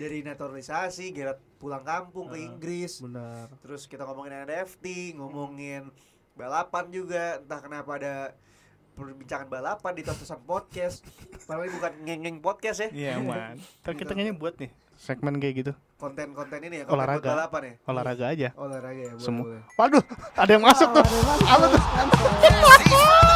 [SPEAKER 6] dari naturalisasi, Gerard pulang kampung ke Inggris.
[SPEAKER 2] Benar.
[SPEAKER 6] Terus kita ngomongin NFT, ngomongin balapan juga, entah kenapa ada perbincangan balapan di Totosan Podcast. Padahal ini bukan ngengeng podcast ya.
[SPEAKER 2] Iya man. Ntar kita kayaknya buat nih segmen kayak gitu
[SPEAKER 6] Konten-konten ini ya konten buat
[SPEAKER 2] olahraga.
[SPEAKER 6] balapan ya.
[SPEAKER 2] Olahraga aja.
[SPEAKER 5] Olahraga ya, boleh,
[SPEAKER 2] Semua.
[SPEAKER 5] boleh.
[SPEAKER 2] Waduh, ada yang masuk tuh. Apa tuh?
[SPEAKER 4] Yes, he's found the